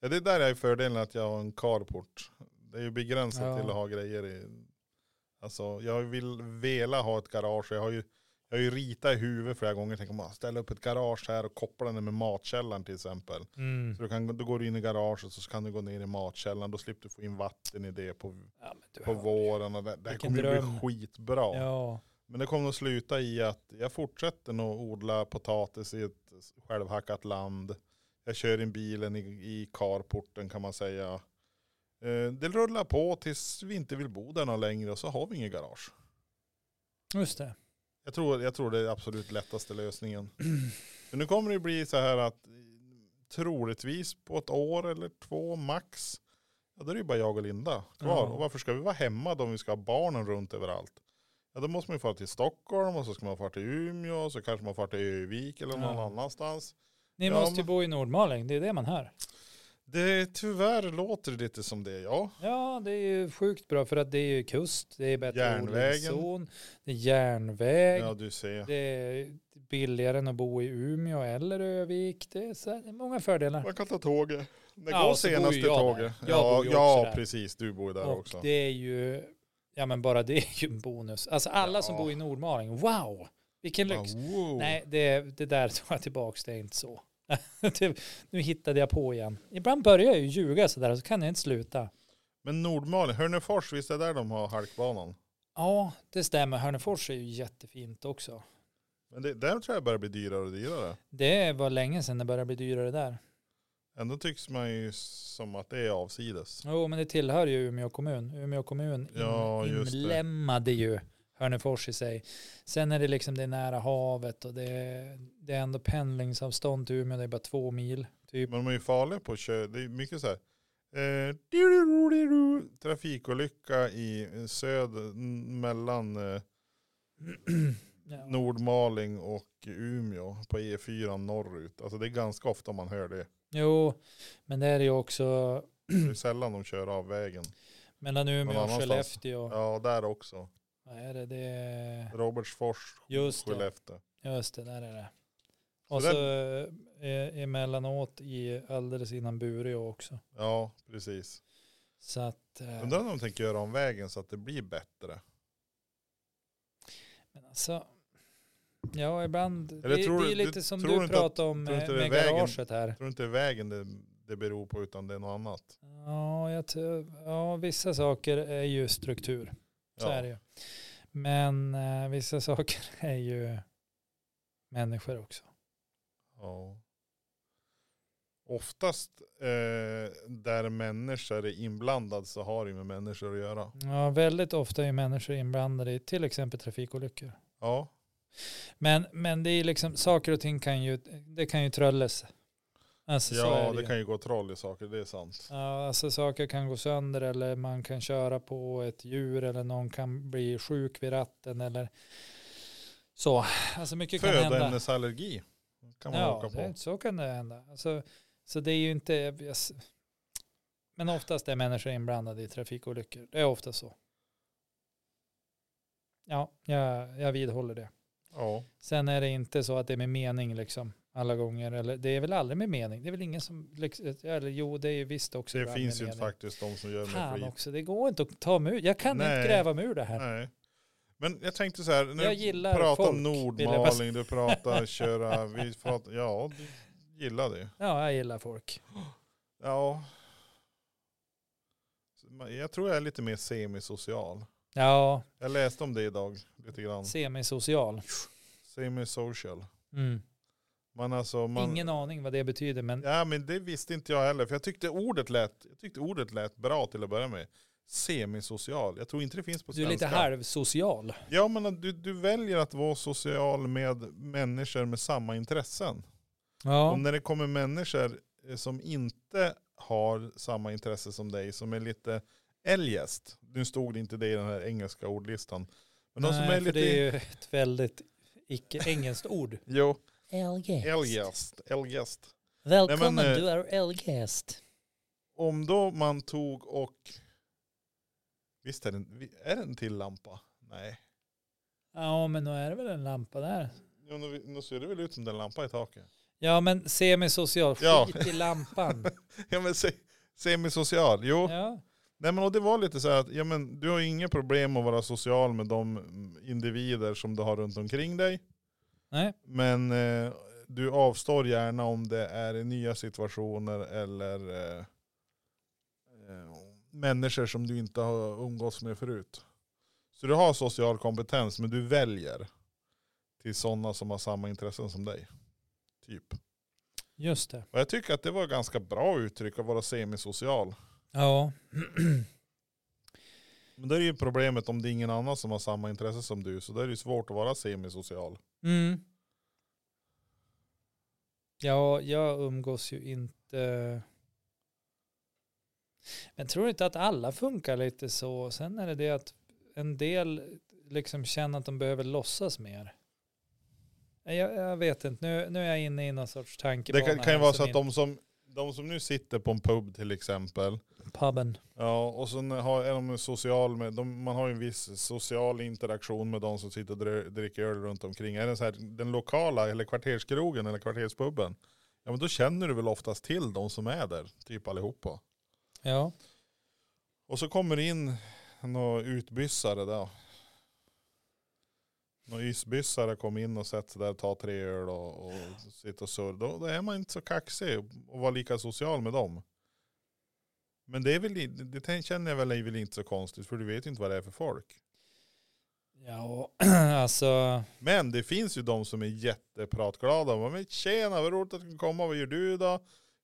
A: ja, det där är fördelen att jag har en carport. Det är ju begränsat
B: Ja.
A: till att ha grejer i. Alltså jag vill vela ha ett garage. Jag har ju, jag har ju ritat i huvudet flera gånger. Tänker man ställa upp ett garage här och koppla den med matkällaren till exempel.
B: Mm.
A: Så du kan, då går du in i garaget så kan du gå ner i matkällaren. Då slipper du få in vatten i det på,
B: Ja, men du
A: på
B: hör.
A: våren. Och det det här
B: Vilken
A: kommer ju bli
B: dröm.
A: skitbra.
B: Ja.
A: Men det kommer att sluta i att jag fortsätter nog odla potatis i ett självhackat land. Jag kör in bilen i, i carporten kan man säga. Eh, det rullar på tills vi inte vill bo där någon längre och så har vi ingen garage.
B: Just det.
A: Jag tror, jag tror det är absolut lättaste lösningen. Men nu kommer det bli så här att eh, troligtvis på ett år eller två max, ja, då är det ju bara jag och Linda kvar.
B: Ja.
A: Och varför ska vi vara hemma då om vi ska ha barnen runt överallt? Ja, då måste man ju fara till Stockholm och så ska man fara till Umeå och så kanske man far till Övik eller någon
B: Ja.
A: annanstans.
B: Ni
A: Ja,
B: måste ju
A: men-
B: bo i Nordmaling, det är det man hör.
A: Det tyvärr låter det lite som det, ja.
B: Ja, det är ju sjukt bra för att det är ju kust, det är bättre
A: Järnvägen.
B: odlingszon, det är järnväg,
A: Ja, du ser.
B: det är billigare än att bo i Umeå eller Övik. Det är, så här, det är många fördelar.
A: Man kan ta tåget. Det
B: Ja,
A: går
B: och så bor ju
A: senaste
B: jag
A: tåget.
B: där. Jag
A: Ja,
B: bor ju också
A: ja
B: där.
A: precis. Du bor ju där
B: Och
A: också.
B: det är ju, ja men bara det är ju en bonus. Alltså alla som
A: Ja.
B: bor i Nordmaling, wow, vilken
A: Bara,
B: lyx.
A: wow.
B: Nej, det, det där tar jag tillbaks, det är inte så. Det- nu hittade jag på igen. Ibland börjar jag ju ljuga sådär så kan jag inte sluta.
A: Men Nordmaling, Hörnefors, visst är det där de har halkbanan?
B: Ja, det stämmer. Hörnefors är ju jättefint också.
A: Men det, där tror jag börjar bli dyrare och dyrare.
B: Det var länge sedan det började bli dyrare där.
A: Ändå tycks man ju som att det är avsides.
B: Jo, men det tillhör ju Umeå kommun. Umeå kommun in,
A: Ja, just det.
B: inlämmade ju Hörnefors i sig. Sen är det liksom det är nära havet och det, det är ändå pendlingsavstånd till Umeå. Det är bara två mil typ.
A: Men de är ju farliga på att köra. Det är mycket så här. Eh, du-du-du-du-du. trafikolycka i söder n- mellan eh,
B: Ja.
A: Nordmaling och Umeå på E4 norrut. Alltså det är ganska ofta man hör det.
B: Jo, men det är ju också
A: Det är sällan de kör av vägen.
B: mellan Umeå och
A: annanstans.
B: Skellefteå.
A: Ja, där också.
B: Vad är det? det är,
A: Robertsfors,
B: just det.
A: Skellefteå.
B: Just det, där är det. Och
A: Så
B: så, eh, emellanåt i alldeles innan Bureå också.
A: Ja, precis.
B: Så att, eh,
A: Undrar om de tänker göra om vägen så att det blir bättre.
B: men alltså, ja ibland,
A: Eller
B: det,
A: tror
B: det
A: du-
B: är lite
A: du-
B: som
A: tror du
B: du
A: inte att-
B: pratade om
A: tror du inte
B: med,
A: det är
B: med
A: vägen?
B: garaget här.
A: Jag tror inte det är vägen det, det beror på utan det är något annat.
B: Ja, jag tror, ja, vissa saker är ju struktur, så är det ju. Men eh, vissa saker är ju människor också.
A: Ja. Oftast eh, där människor är inblandad så har det ju med människor att göra.
B: Ja, väldigt ofta är människor inblandade i till exempel trafikolyckor.
A: Ja,
B: Men, men det är liksom, saker och ting kan ju, det kan ju tröllas. Alltså, så är
A: ja
B: det,
A: det
B: ju.
A: kan ju gå troll i saker, det är sant.
B: Ja, alltså saker kan gå sönder eller man kan köra på ett djur eller någon kan bli sjuk vid ratten eller så. Alltså mycket kan hända.
A: Födoämnesallergi kan man
B: Ja,
A: åka på.
B: det, så kan det hända. Alltså, så det är ju inte, jag s- men oftast är människor inblandade i trafikolyckor. Det är ofta så. Ja, jag, jag vidhåller det.
A: Ja.
B: Sen är det inte så att det är med mening liksom alla gånger. Eller, det är väl aldrig med mening. Det är väl ingen som, liksom, eller jo det är ju visst också.
A: Det
B: ibland
A: finns
B: med
A: ju
B: mening.
A: faktiskt de som gör med
B: Fan
A: flit.
B: också, det går inte att ta mig ur. Jag kan
A: Nej.
B: inte gräva mig ur det här.
A: Nej. Men jag tänkte så här, nu
B: Jag gillar
A: pratar
B: folk,
A: om
B: vill jag bara
A: Nordmaling, du pratar köra, vi pratar, ja du gillar det.
B: Ja, jag gillar folk.
A: Ja. Så man- Jag tror jag är lite mer semisocial.
B: Ja,
A: Jag läste om det idag lite grann.
B: semisocial.
A: Semisocial.
B: Mm.
A: Man alltså, man,
B: Ingen aning vad det betyder, men
A: Ja men det visste inte jag heller. För jag tyckte ordet lät, jag tyckte ordet lät bra till att börja med. Semisocial. Jag tror inte det finns på
B: du är
A: svenska.
B: lite halvsocial.
A: Ja men du, du väljer att vara social med människor med samma intressen.
B: Ja,
A: Och när det kommer människor eh, som inte har samma intresse som dig, som är lite eljest. Nu stod det inte det i den här engelska ordlistan. Men de som
B: Nej,
A: är
B: för
A: lite
B: det är ju ett väldigt icke-engelskt ord.
A: jo,
B: Elgäst.
A: eljest, eljest.
B: Välkommen,
A: Nej, men, eh,
B: du är elgäst.
A: Om då man tog och, visst är det, en- är det en till lampa? Nej.
B: Ja, men då är det väl en lampa där.
A: Jo, nu, nu ser det väl ut som den lampa i taket.
B: Ja, men semisocial. Skit
A: Ja.
B: i lampan.
A: Ja men se, semisocial, jo.
B: Ja.
A: Nej men och det var lite så här att, ja men du har ju inga problem att vara social med de mm, individer som du har runt omkring dig.
B: Nej.
A: Men eh, du avstår gärna om det är i nya situationer eller eh, eh, människor som du inte har umgåtts med förut. Så du har social kompetens men du väljer till sådana som har samma intressen som dig. Typ.
B: Just det.
A: Och jag tycker att det var ett ganska bra uttryck att vara semisocial.
B: Ja.
A: Men då är det ju problemet om det är ingen annan som har samma intresse som du. Så då är det ju svårt att vara semisocial.
B: Mm. Ja, jag umgås ju inte. Men tror du inte att alla funkar lite så? Sen är det det att en del liksom känner att de behöver låtsas mer. Nej, Jag, jag vet inte, nu, nu är jag inne i någon sorts
A: Det
B: tankebana.
A: kan, kan ju
B: här
A: vara
B: som
A: så att
B: inte-
A: de som, de som nu sitter på en pub till exempel.
B: Puben.
A: Ja, och sen har, är de social med, de, man har ju en viss social interaktion med de som sitter och dr- dricker öl runt omkring. Är det så här, den lokala eller kvarterskrogen eller kvarterspubben. Ja men då känner du väl oftast till de som är där, typ allihopa.
B: Ja.
A: Och så kommer det in några utbyssare där. Några ysbyssare kom in och sätter sig där och tar tre öl och, och sitter och surrar. Då, då är man inte så kaxig och vara lika social med dem. Men det, är väl, i- det tän- känner jag väl är väl inte så konstigt för du vet ju inte vad det är för folk.
B: Ja, alltså.
A: Men det finns ju de som är jättepratglada. Man men tjena, vad roligt att du kan komma. Vad gör du då?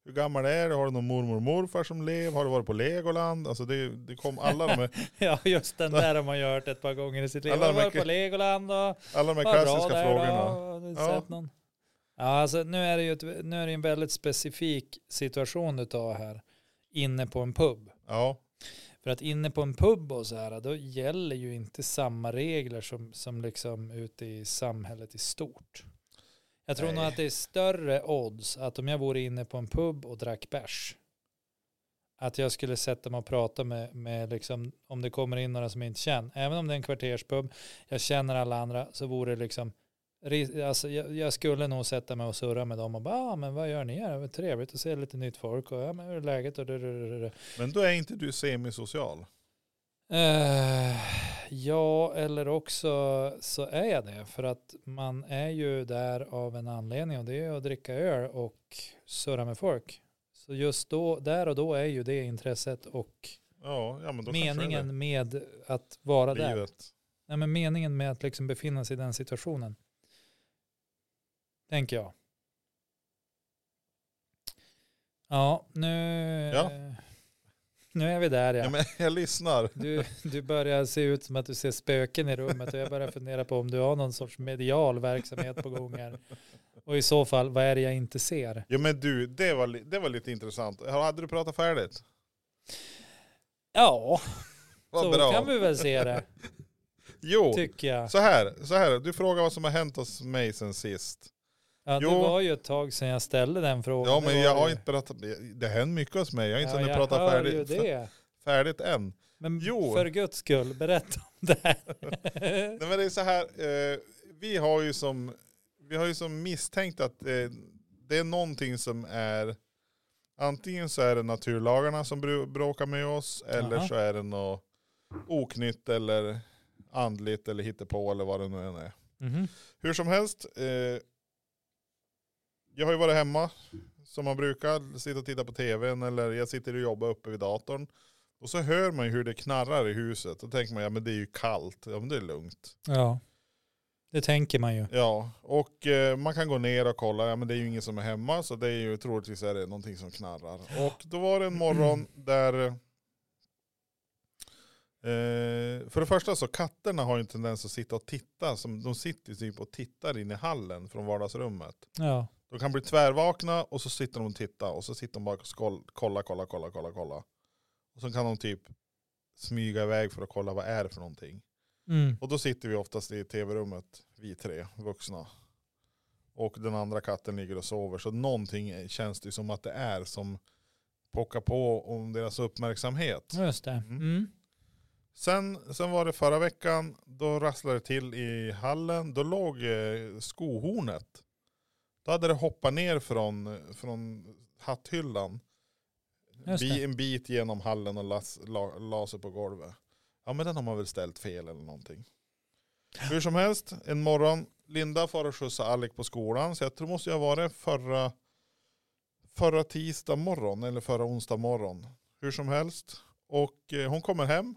A: Hur gammal är du? Har du någon mormor och morfar som lever? Har du varit på Legoland? Alltså det, det kom alla de här
B: Ja, just den där har man ju hört ett par gånger i sitt liv.
A: Alla
B: Alla
A: de här-
B: var på Legoland och
A: Alla de här
B: vad bra
A: klassiska
B: där
A: frågorna.
B: då. Har du
A: Ja.
B: sett någon? Ja, alltså nu är det ju ett, nu är det en väldigt specifik situation du tar här. Inne på en pub.
A: Ja,
B: För att inne på en pub och så här, då gäller ju inte samma regler som, som liksom ute i samhället i stort. Jag tror
A: Nej.
B: nog att det är större odds att om jag vore inne på en pub och drack bärs, att jag skulle sätta mig och prata med, med liksom, om det kommer in några som jag inte känner, även om det är en kvarterspub, jag känner alla andra, så vore det liksom, ri- alltså jag, jag skulle nog sätta mig och surra med dem och bara, ah, men vad gör ni här? Det var trevligt att se lite nytt folk och ja, men hur är läget? Och, drrrrrrrr."
A: men då är inte du semisocial.
B: Eh, ja, eller också så är jag det. För att man är ju där av en anledning och det är att dricka öl och surra med folk. Så just då, där och då är ju det intresset och
A: Ja, ja men då kanske
B: meningen med att vara
A: det är det.
B: där.
A: livet.
B: Nej, men meningen med att liksom befinna sig i den situationen. Tänker jag. Ja, nu,
A: Ja.
B: nu är vi där ja.
A: Ja, men jag lyssnar.
B: Du, du börjar se ut som att du ser spöken i rummet och jag börjar fundera på om du har någon sorts medial verksamhet på gång här. Och i så fall, vad är det jag inte ser?
A: Ja men du, det var, li- det var lite intressant. Hade du pratat färdigt?
B: Ja,
A: Vad
B: så
A: bra.
B: kan vi väl se det,
A: Jo,
B: tycker jag.
A: så här, så här. Du frågar vad som har hänt hos mig sen sist.
B: Ja, det
A: Jo.
B: var ju ett tag sedan jag ställde den frågan.
A: Ja
B: Det
A: men
B: var
A: jag har
B: ju-
A: inte pratat, det har hänt mycket hos mig. Jag har inte
B: Ja,
A: hunnit
B: jag
A: prata
B: hör
A: färdigt,
B: ju det.
A: färdigt än.
B: Men
A: Jo.
B: för guds skull, berätta om det här.
A: Nej men det är så här, eh, vi har ju som, vi har ju som misstänkt att eh, det är någonting som är, antingen så är det naturlagarna som bru- bråkar med oss, eller
B: Jaha.
A: så är det något oknytt eller andligt eller hittepå eller vad det nu än är.
B: Mhm.
A: Hur som helst, eh, jag har ju varit hemma som man brukar, sitta och titta på tvn eller jag sitter och jobbar uppe vid datorn. Och så hör man ju hur det knarrar i huset. Då tänker man, ja men det är ju kallt, ja men det är lugnt.
B: Ja, det tänker man ju.
A: Ja, och eh, man kan gå ner och kolla, ja, men det är ju ingen som är hemma så det är ju troligtvis är det någonting som knarrar. Och då var det en morgon där, eh, för det första så katterna har ju en tendens att sitta och titta, som, de sitter ju typ och tittar in i hallen från vardagsrummet.
B: Ja,
A: De kan bli tvärvakna och så sitter de och tittar och så sitter de bara och skoll- kolla, kolla, kolla, kolla, kolla. Och så kan de typ smyga iväg för att kolla vad är det för någonting.
B: Mm.
A: Och då sitter vi oftast i tv-rummet, vi tre vuxna. Och den andra katten ligger och sover. Så någonting är- känns det ju som att det är som pockar på om deras uppmärksamhet.
B: Just det.
A: Mm.
B: Mm.
A: Sen, sen var det förra veckan, då rasslade det till i hallen. Då låg eh, skohornet. Då hade det hoppat ner från, från hatthyllan.
B: Just
A: Bi,
B: det.
A: en bit genom hallen och las, la, la sig på golvet. Ja men den har man väl ställt fel eller någonting. Hur som helst, en morgon, Linda får och skjutsa Alec på skolan. Så jag tror måste jag ha varit förra, förra tisdag morgon eller förra onsdag morgon. Hur som helst. Och eh, hon kommer hem,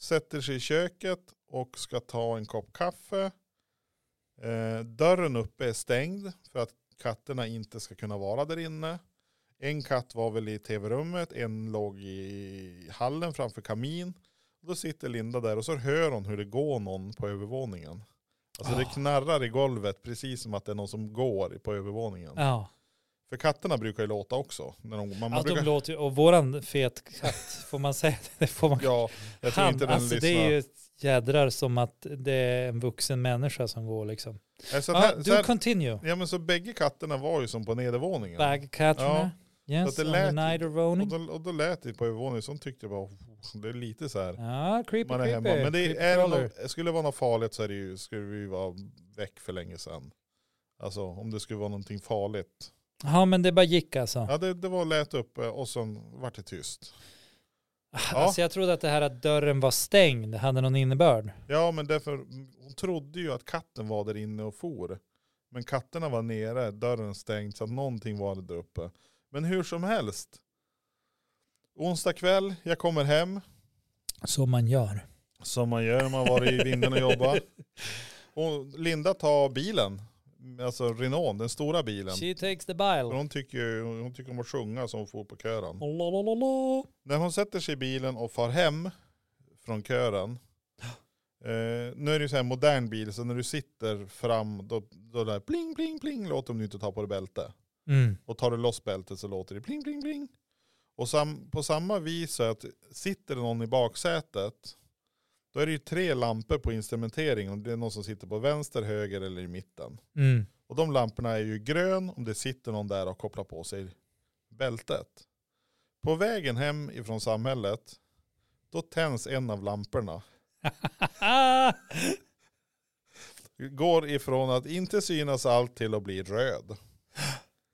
A: sätter sig i köket och ska ta en kopp kaffe. Eh, dörren uppe är stängd för att katterna inte ska kunna vara där inne. En katt var väl i tv-rummet, en låg i hallen framför kamin. Och då sitter Linda där och så hör hon hur det går någon på övervåningen. Alltså det
B: Ah.
A: knarrar i golvet precis som att det är någon som går på övervåningen.
B: Ja.
A: För katterna brukar ju låta också. När de, man, man
B: ja, de
A: brukar,
B: låter ju, och våran fet katt, får man säga det? får man
A: ja, jag tror
B: Han,
A: inte den
B: alltså det
A: lyssnar.
B: är ju ett jädrar som att det är en vuxen människa som går liksom.
A: Nej, Eh, så att
B: Ja,
A: här, så
B: du
A: här,
B: continue.
A: ja men så bägge katterna var ju som på nedervåningen.
B: Bag Katrina. Yes,
A: Så att det
B: on the
A: lät-
B: night of Ronin.
A: Och då, och då lät det på övervåningen, så hon tyckte bara, "Oh, det är lite så här.
B: Ja, creepy
A: Man är
B: creepy.
A: hemma. Men det är,
B: Creepy
A: är det
B: crawler.
A: något, skulle det vara något farligt så är det ju, skulle vi vara väck för länge sedan. Alltså om det skulle vara någonting farligt.
B: Ja, men det bara gick alltså.
A: Ja det, det var lät uppe och sen vart det tyst. ja.
B: Alltså jag trodde att det här att dörren var stängd hade någon innebörd.
A: Ja men därför, hon trodde ju att katten var där inne och for. Men katterna var nere, dörren stängd så att någonting var där uppe. Men hur som helst. Onsdag kväll, jag kommer hem.
B: Som man gör.
A: Som man gör när man varit i vinden och jobbat. Och Linda tar bilen, alltså Renault, den stora bilen.
B: She takes the
A: För
B: bile.
A: hon tycker ju hon tycker om att sjunga så hon får på kören.
B: Lalalala.
A: När hon sätter sig i bilen och far hem från kören. Eh, nu är det ju så här modern bil så när du sitter fram då, då där pling pling pling låter om du inte tar på dig bälte.
B: Mm.
A: Och tar du loss bältet så låter det pling pling pling. Och sam, på samma vis så att sitter det någon i baksätet då är det ju tre lampor på instrumenteringen. Och Det är någon som sitter på vänster, höger eller i mitten.
B: Mm.
A: Och de lamporna är ju grön om det sitter någon där och kopplar på sig bältet. På vägen hem ifrån samhället, då tänds en av lamporna.
B: Ah,
A: Går ifrån att inte synas allt till att bli röd.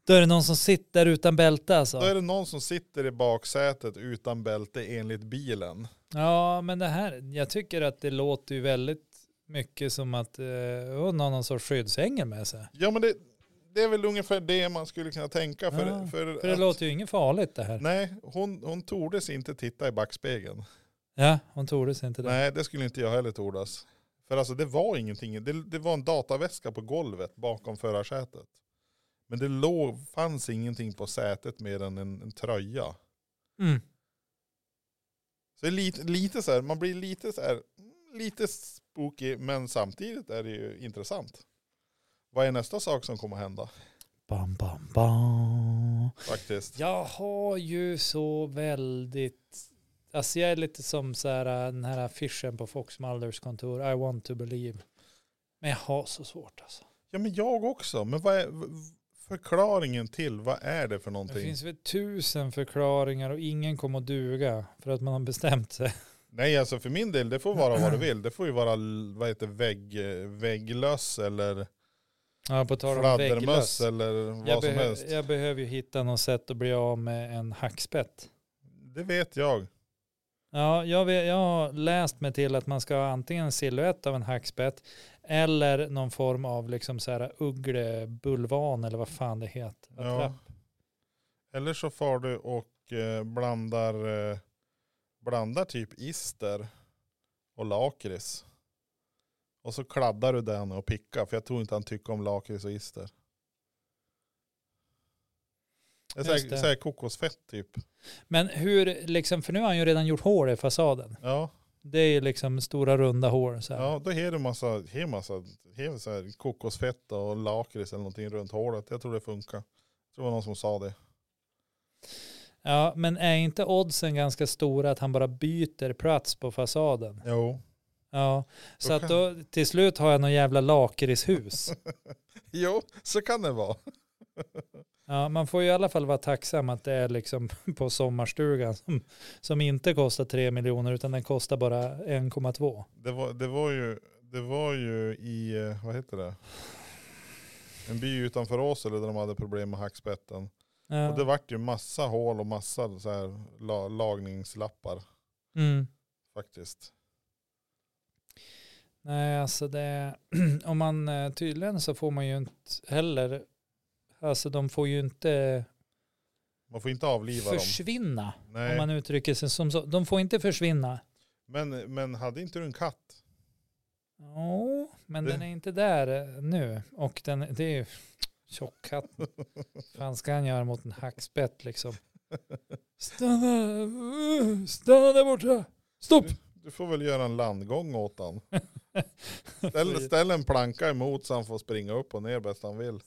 B: då är det någon som sitter utan bälte
A: Då är
B: alltså.
A: det någon som sitter i baksätet utan bälte enligt bilen.
B: Ja, men det här, jag tycker att det låter ju väldigt mycket som att eh, hon har någon sorts skyddsängel med sig.
A: Ja men det, det är väl ungefär det man skulle kunna tänka. För,
B: Ja,
A: för,
B: För det
A: att,
B: låter ju inget farligt det här.
A: Nej, hon, hon tordes inte titta i backspegeln.
B: Ja, hon tordes inte det.
A: Nej, det skulle inte jag heller tordas. För alltså det var ingenting. Det, det var en dataväska på golvet bakom förarsätet. Men det låg, fanns ingenting på sätet mer än en, en tröja.
B: Mm.
A: Så det är lite, lite så här, man blir lite så här, mm, lite spooky, men samtidigt är det ju intressant. Vad är nästa sak som kommer hända
B: Bam, bam, bam.
A: faktiskt?
B: Jag har ju så väldigt, alltså jag är lite som så här, äh, den här affischen på Fox Mulders kontor, I want to believe. Men jag har så svårt alltså.
A: Ja men jag också, men vad är v- v- förklaringen till, vad är det för
B: Det
A: någonting?
B: finns väl tusen förklaringar och ingen kommer att duga för att man har bestämt sig.
A: Nej, alltså för min del, det får vara vad du vill. Det får ju vara vad heter, vägg, vägglöss eller
B: Ja, på tal om
A: fladdermöss
B: vägglöss.
A: eller vad
B: Jag,
A: som
B: behö-
A: helst.
B: jag behöver ju hitta något sätt att bli av med en hackspett.
A: Det vet jag.
B: Ja, jag, vet, jag har läst mig till att man ska ha antingen en silhuett av en hackspett eller någon form av liksom så här ugglebulvan eller vad fan det heter.
A: Ja. Eller så far du och eh, blandar, eh, blandar typ ister och lakrits. Och så kladdar du den och pickar, för jag tror inte han tycker om lakrits och ister. Det är så
B: Just
A: här,
B: det.
A: så här kokosfett typ.
B: Men hur, liksom, för nu har han ju redan gjort hål i fasaden.
A: Ja,
B: Det är ju liksom stora runda hål. Så här.
A: Ja, då har du massa, he massa he så här kokosfett och lakrits eller någonting runt hålet. Jag tror det funkar. Jag tror det var någon som sa det.
B: Ja, men är inte oddsen ganska stora att han bara byter plats på fasaden?
A: Jo.
B: Ja, så
A: Då
B: att
A: kan-
B: då till slut har jag någon jävla lakritshus.
A: Jo, så kan det vara.
B: Ja, man får ju i alla fall vara tacksam att det är liksom på sommarstugan som, som inte kostar 3 miljoner utan den kostar bara 1,2.
A: Det var, det var, ju, det var ju i, eh, vad heter det? En by utanför Åsele där de hade problem med hackspetten. Och det
B: Ja.
A: vart ju massa hål och massa så här la, lagningslappar
B: Mm.
A: faktiskt.
B: Nej, alltså det, om man eh, tydligen så får man ju inte heller, alltså de får ju inte
A: Man får inte avliva dem.
B: försvinna, om
A: Nej.
B: man uttrycker sig som så. De får inte försvinna.
A: Men, men hade inte du en katt?
B: Jo, men
A: Det-
B: den är inte där eh, nu. Och den, det är ju tjockhatt. fan ska han göra mot en hackspett liksom? Stanna, uh, stanna där borta. Stopp!
A: Du får väl göra en landgång åt han. Ställ, ställ en planka emot så han får springa upp och ner bäst han vill.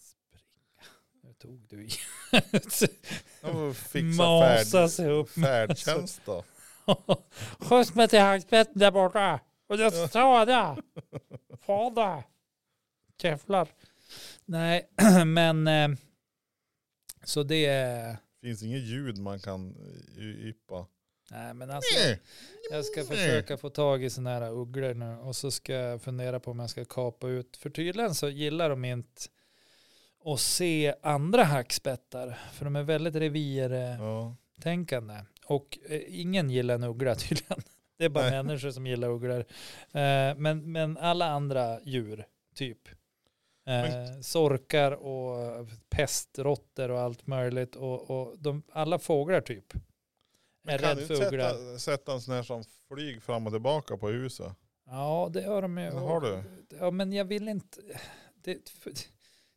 B: Nu tog du i.
A: Han får fixa
B: Masa
A: färd,
B: sig upp.
A: färdtjänst då.
B: Skjuts mig till hackspetten där borta. Och jag skadar. Fader. Jävlar. Nej, men eh, så det är...
A: Finns inget ljud man kan y- yppa.
B: Nej, men alltså. Jag ska försöka få tag i sådana här ugglor nu och så ska jag fundera på om jag ska kapa ut. För tydligen så gillar de inte att se andra hackspettar. För de är väldigt revirtänkande.
A: Ja.
B: Och eh, ingen gillar en uggla tydligen. Det är bara
A: Nej.
B: människor som gillar ugglor. Eh, men, men alla andra djur, typ. Eh, sorkar och pestrottor och allt möjligt. Och, och de, alla fåglar typ.
A: Men
B: är
A: kan
B: rädd
A: du inte
B: för ugglor.
A: sätta, sätta en sån här som flyger fram och tillbaka på huset?
B: Ja, det har de ju.
A: Det har du.
B: Ja, men jag vill inte. Det,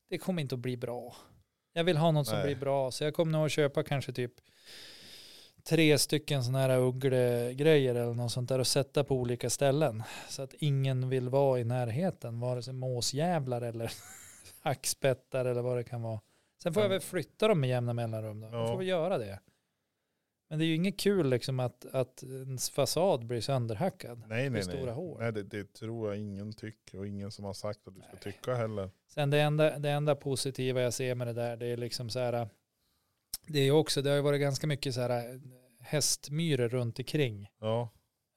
B: det kommer inte att bli bra. Jag vill ha något som
A: Nej.
B: blir bra, så jag kommer nog att köpa kanske typ tre stycken sådana här ugglegrejer eller något sånt där och sätta på olika ställen. Så att ingen vill vara i närheten, vare sig måsjävlar eller hackspettar eller vad det kan vara. Sen får jag väl flytta dem med jämna mellanrum då. Jag
A: Mm. Ja.
B: får väl göra det. Men det är ju inget kul liksom att, att ens fasad blir sönderhackad.
A: Nej, nej,
B: stora
A: nej.
B: hår.
A: nej det, det tror jag ingen tycker och ingen som har sagt att du ska tycka heller.
B: Sen det enda, det enda positiva jag ser med det där, det är liksom så här, det är ju också, det har ju varit ganska mycket så här eh, hästmyror runt omkring.
A: Ja,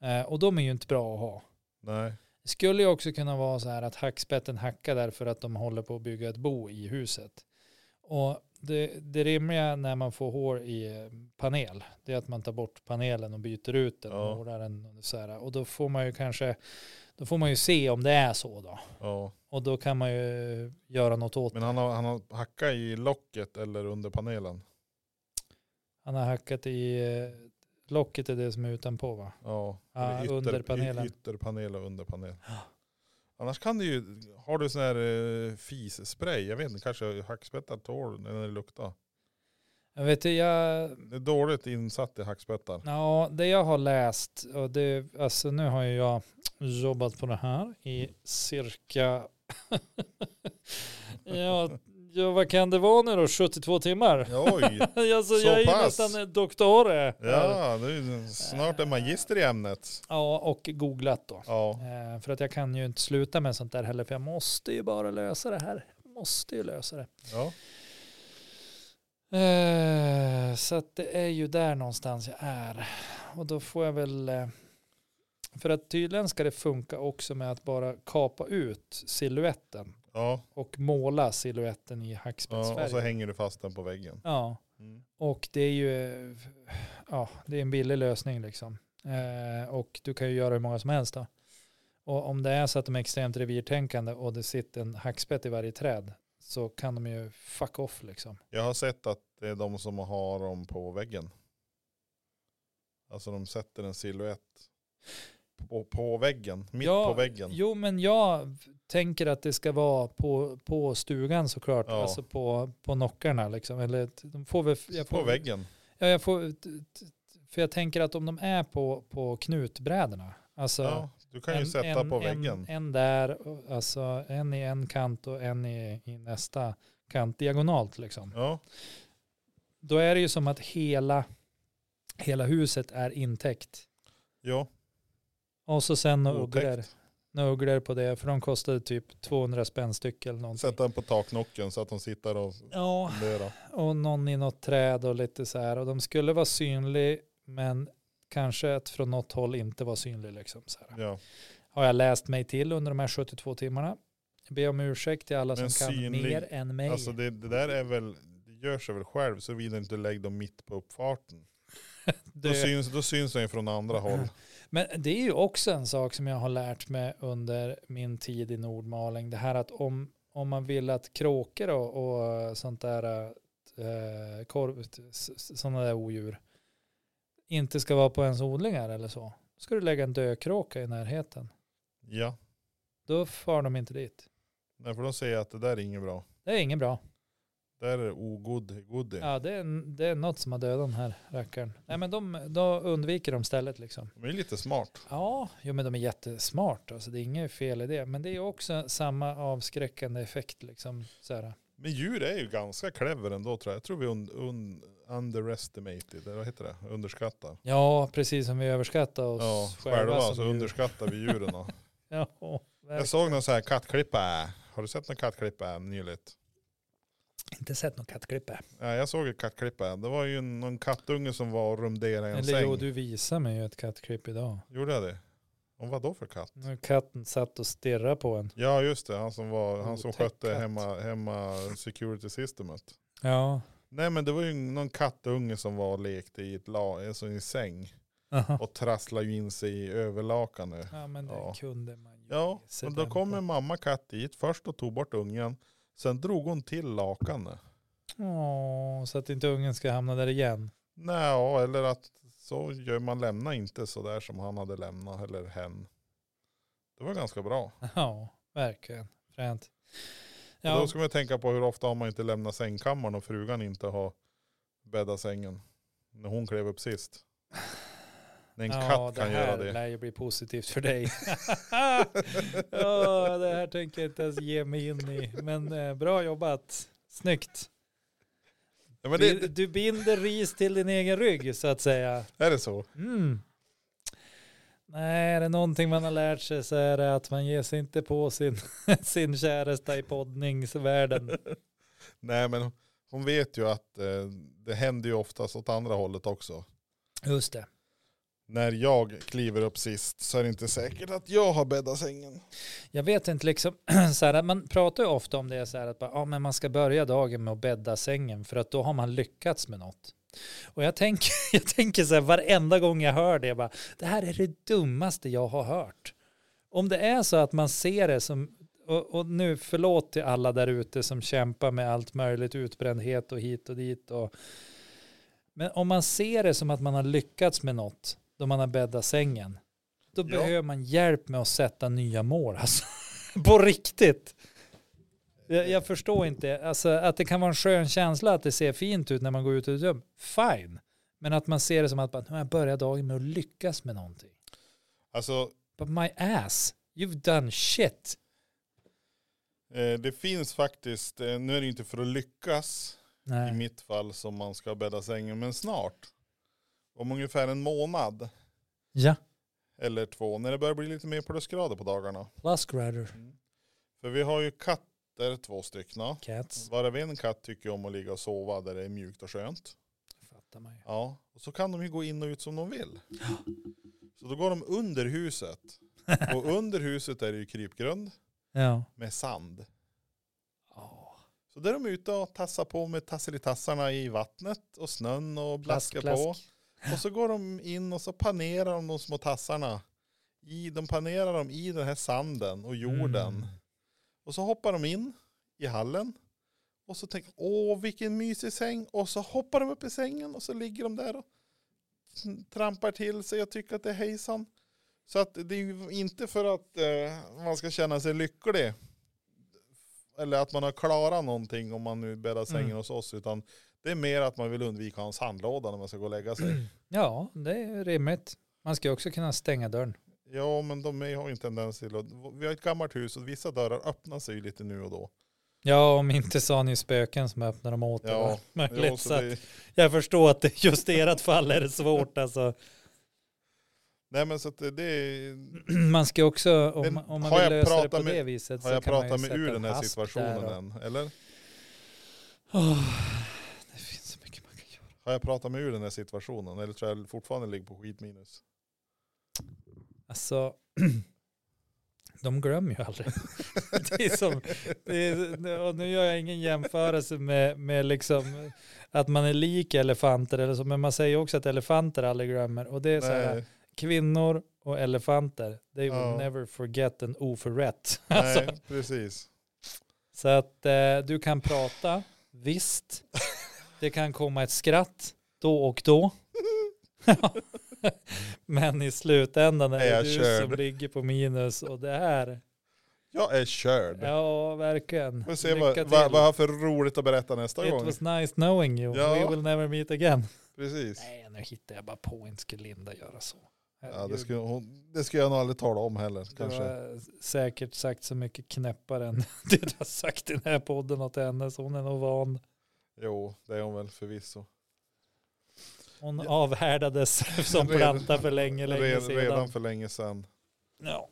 B: Eh, och de är ju inte bra att ha.
A: nej.
B: Det skulle ju också kunna vara så här att hackspetten hackar därför att de håller på att bygga ett bo i huset. Och det, det rimliga när man får hår i eh, panel, det är att man tar bort panelen och byter ut den
A: Ja.
B: och målar den. Och, så här. och då får man ju kanske, då får man ju se om det är så då.
A: Ja.
B: Och då kan man ju eh, göra något åt
A: Men han har, han har hackat i locket eller under panelen.
B: Han har hackat i eh, locket är det som är utanpå va?
A: Ja,
B: Ja,
A: eller
B: under panelen.
A: y- Ytterpanel och underpanel. Annars kan du ju, har du sån här eh, fisspray, jag vet inte, kanske hackspettar tål när det luktar.
B: Jag vet inte, jag,
A: Det är dåligt insatt i hackspettar.
B: ja, det jag har läst och det, alltså nu har ju jag jobbat på det här i cirka, ja, ja vad kan det vara nu då, 72 timmar?
A: Oj,
B: Alltså
A: Så
B: jag är ju
A: pass.
B: nästan en doktore.
A: ja, det är ju snart en magister i ämnet.
B: ja, och googlat då.
A: Ja,
B: Eh, För att jag kan ju inte sluta med sånt där heller, för jag måste ju bara lösa det här. Jag måste ju lösa det.
A: ja.
B: Eh, Så att det är ju där någonstans jag är. Och då får jag väl... eh, För att tydligen ska det funka också med att bara kapa ut siluetten
A: ja.
B: och måla siluetten i
A: ja. Och så
B: hackspettsfärg.
A: hänger du fast den på väggen.
B: Ja,
A: Mm.
B: och det är ju eh, ja, det är en billig lösning liksom. Eh, Och du kan ju göra hur många som helst då. Och om det är så att de är extremt revirtänkande och det sitter en hackspett i varje träd så kan de ju fuck off liksom.
A: Jag har sett att det är de som har dem på väggen. Alltså de sätter en silhuett på, på väggen, mitt
B: Ja,
A: på väggen.
B: Jo, men jag tänker att det ska vara på, på stugan såklart.
A: Ja.
B: Alltså på, på nockarna liksom. Eller t- de får väl... Jag får,
A: på väggen.
B: Ja, jag får, t- t- för jag tänker att om de är på, på knutbrädorna, Alltså,
A: Ja, du kan ju sätta på väggen.
B: En, en där, och- alltså en i en kant och en i, i nästa kant diagonalt liksom.
A: Ja,
B: Då är det ju som att hela, hela huset är intäckt.
A: ja,
B: Och så sen några
A: Otäckt.
B: ugglor. Några ugglor på det, för de kostade typ 200 spänn styck eller någonting.
A: sätta den på taknocken så att de sitter och
B: Ja,
A: funderar.
B: och någon i något träd och lite så här. Och de skulle vara synlig, men kanske att från något håll inte vara synlig liksom. Så här.
A: Ja.
B: Har jag läst mig till under de här 72 timmarna. Be om ursäkt till alla
A: Men
B: som kan
A: synlig-
B: mer än mig.
A: Alltså det, det där är väl, det gör sig väl själv såvida du inte lägger dem mitt på uppfarten. Då
B: Det-
A: syns, då syns den ju från andra håll.
B: Men det är ju också en sak som jag har lärt mig under min tid i Nordmaling. Det här att om, om man vill att kråkor och, och sånt där, eh, korv, s- s- sådana där odjur inte ska vara på ens odlingar eller så. Ska du lägga en dökråka i närheten.
A: Ja,
B: Då far de inte dit.
A: Nej, för de säger att det där är inget bra.
B: Det är inget bra.
A: Där är det ogod, godie.
B: Ja, det, är, det är något som har dödat den här rackaren. Nej, men de, då undviker de stället liksom.
A: De är lite smart.
B: Ja, jo, men de är jättesmart. Alltså, det är inget fel i det. Men det är också samma avskräckande effekt. Liksom, så här.
A: Men djur är ju ganska clever ändå tror jag. Jag tror vi un, un, underestimated, eller vad heter det? Underskattar.
B: Ja, precis som vi överskattar oss
A: Ja,
B: själva.
A: själva alltså,
B: som
A: så
B: djur.
A: underskattar vi djuren. då.
B: ja, verkligen.
A: Jag såg någon sån här kattklippa. Har du sett någon kattklippa nyligt?
B: Inte sett någon kattklippe.
A: Ja, jag såg ett kattklippa. Det var ju någon kattunge som var och rumderade i en
B: Eller
A: säng.
B: jo, du visade mig ju ett kattklipp idag.
A: Gjorde jag det? Om vad då för katt?
B: När katten satt och stirrade på en.
A: Ja just det, han som, var, han som
B: Otäck
A: skötte
B: katt.
A: hemma, hemma security systemet.
B: Ja,
A: Nej men det var ju någon kattunge som var och lekte i, ett la, alltså i en säng.
B: Aha.
A: Och trasslade ju in sig i överlakanet.
B: ja men det
A: Ja.
B: kunde man ju.
A: Ja,
B: ge sig
A: men då
B: den
A: kom
B: på.
A: en mamma katt dit först och tog bort ungen. Sen drog hon till lakanet.
B: Åh, så att inte ungen ska hamna där igen.
A: Nej, ja, eller att så gör man lämna inte så där som han hade lämnat eller hen. Det var ganska bra.
B: Ja, verkligen. Fränt.
A: Och Då ska man tänka på hur ofta har man inte lämnat sängkammaren och frugan inte har bäddat sängen. När hon klev upp sist. När en katt kan göra
B: Det här
A: det.
B: lär ju bli positivt för dig. ja, det här tänker jag inte ens ge mig in i. Men eh, bra jobbat. Snyggt.
A: Ja, men
B: Du,
A: det,
B: du binder ris till din egen rygg så att säga.
A: är det så?
B: Mm. Nej, är det någonting man har lärt sig så är det att man ger sig inte på sin, sin käresta i poddningsvärlden.
A: Nej, men hon vet ju att eh, det händer ju oftast åt andra hållet också.
B: Just det.
A: När jag kliver upp sist så är det inte säkert att jag har bäddat sängen.
B: Jag vet inte, liksom, så här, man pratar ju ofta om det så här att bara, ja, men man ska börja dagen med att bädda sängen för att då har man lyckats med något. Och jag tänker, jag tänker så här varenda gång jag hör det, jag bara, det här är det dummaste jag har hört. Om det är så att man ser det som, och, och nu förlåt till alla där ute som kämpar med allt möjligt, utbrändhet och hit och dit. Och, men om man ser det som att man har lyckats med något då man har bäddat sängen, då
A: Ja.
B: behöver man hjälp med att sätta nya mål. Alltså. På riktigt. Jag, jag förstår inte. Alltså, att det kan vara en skön känsla att det ser fint ut när man går ut ur ett rum. Fine. Men att man ser det som att bara, nu har jag börjat dagen med att lyckas med någonting.
A: Alltså,
B: But my ass, you've done shit.
A: eh, det finns faktiskt, eh, nu är det ju inte för att lyckas i
B: Nej.
A: mitt fall som man ska bädda sängen, men snart. Om ungefär en månad
B: Ja,
A: eller två, när det börjar bli lite mer plusgrader på dagarna.
B: plus grader.
A: För vi har ju katter, två stycken.
B: Cats,
A: Varav en katt tycker om att ligga och sova där det är mjukt och skönt.
B: fattar man ju.
A: Ja, och så kan de ju gå in och ut som de vill. Så då går de under huset. Och under huset är det ju krypgrund
B: Ja.
A: med sand.
B: Oh.
A: Så där är de ute och tassar på med tasselitassarna i vattnet och snön och blaskar på. Och så går de in och så panerar de de små tassarna. I, de panerar dem i den här sanden och jorden.
B: Mm.
A: Och så hoppar de in i hallen. Och så tänker de, åh vilken mysig säng. Och så hoppar de upp i sängen och så ligger de där och sn- trampar till sig och tycker att det är hejsan. Så att det är ju inte för att eh, man ska känna sig lycklig. Eller att man har klarat någonting om man nu bäddar sängen
B: Mm.
A: hos oss. Utan det är mer att man vill undvika hans handlåda när man ska gå och lägga sig.
B: Ja, det är rimligt. Man ska ju också kunna stänga dörren.
A: Ja, men de är- har ju en tendens till att, vi har ett gammalt hus och vissa dörrar öppnar sig ju lite nu och då.
B: Ja, om inte så har ni spöken som öppnar dem åt er.
A: Ja,
B: va? Möjligt,
A: Jo,
B: så
A: så
B: att
A: det,
B: Jag förstår att det just i ert fall är det svårt. Alltså.
A: nej men så att det, det är,
B: Man ska också, om,
A: Men
B: man- om man
A: har
B: vill
A: jag
B: lösa det
A: pratat
B: på
A: med-
B: det viset
A: har
B: så
A: jag
B: kan man ju
A: pratat med
B: sätta
A: ur
B: en
A: den här
B: hasp där
A: situationen
B: och-
A: än? Eller?
B: Åh, det finns så mycket man kan göra.
A: Har jag pratat med ur den här situationen? Eller tror jag fortfarande ligger på skitminus?
B: Alltså, de glömmer ju aldrig. Det är som, det är, och nu gör jag ingen jämförelse med, med liksom att man är lik elefanter eller så, men man säger också att elefanter aldrig glömmer. Och det är så här,
A: Nej,
B: kvinnor och elefanter, they will
A: Ja.
B: never forget an oförrätt. Alltså,
A: nej, precis.
B: Så att eh, du kan prata, visst. Det kan komma ett skratt då och då. Men i slutändan
A: Är
B: är det
A: jag
B: du som
A: körd?
B: ligger på minus och det här.
A: Jag är körd.
B: Ja, verkligen.
A: Vi får se vad,
B: Lycka
A: vad,
B: till.
A: vad jag har för roligt att berätta nästa
B: It
A: gång.
B: was nice knowing you.
A: Ja.
B: We will never meet again.
A: Precis.
B: Nej, nu hittar jag bara på. Inte skulle Linda göra så.
A: Ja, det,
B: Herregud.
A: skulle, hon, det skulle jag nog aldrig tala om heller.
B: Du
A: Kanske.
B: har säkert sagt så mycket knäppare än det du har sagt i den här podden åt henne. Så hon är nog van.
A: Jo, det är hon väl förvisso.
B: Hon
A: Ja.
B: avhärdades som
A: Redan-
B: planta för länge, länge
A: Red-
B: sedan.
A: Redan för länge sedan.
B: Ja.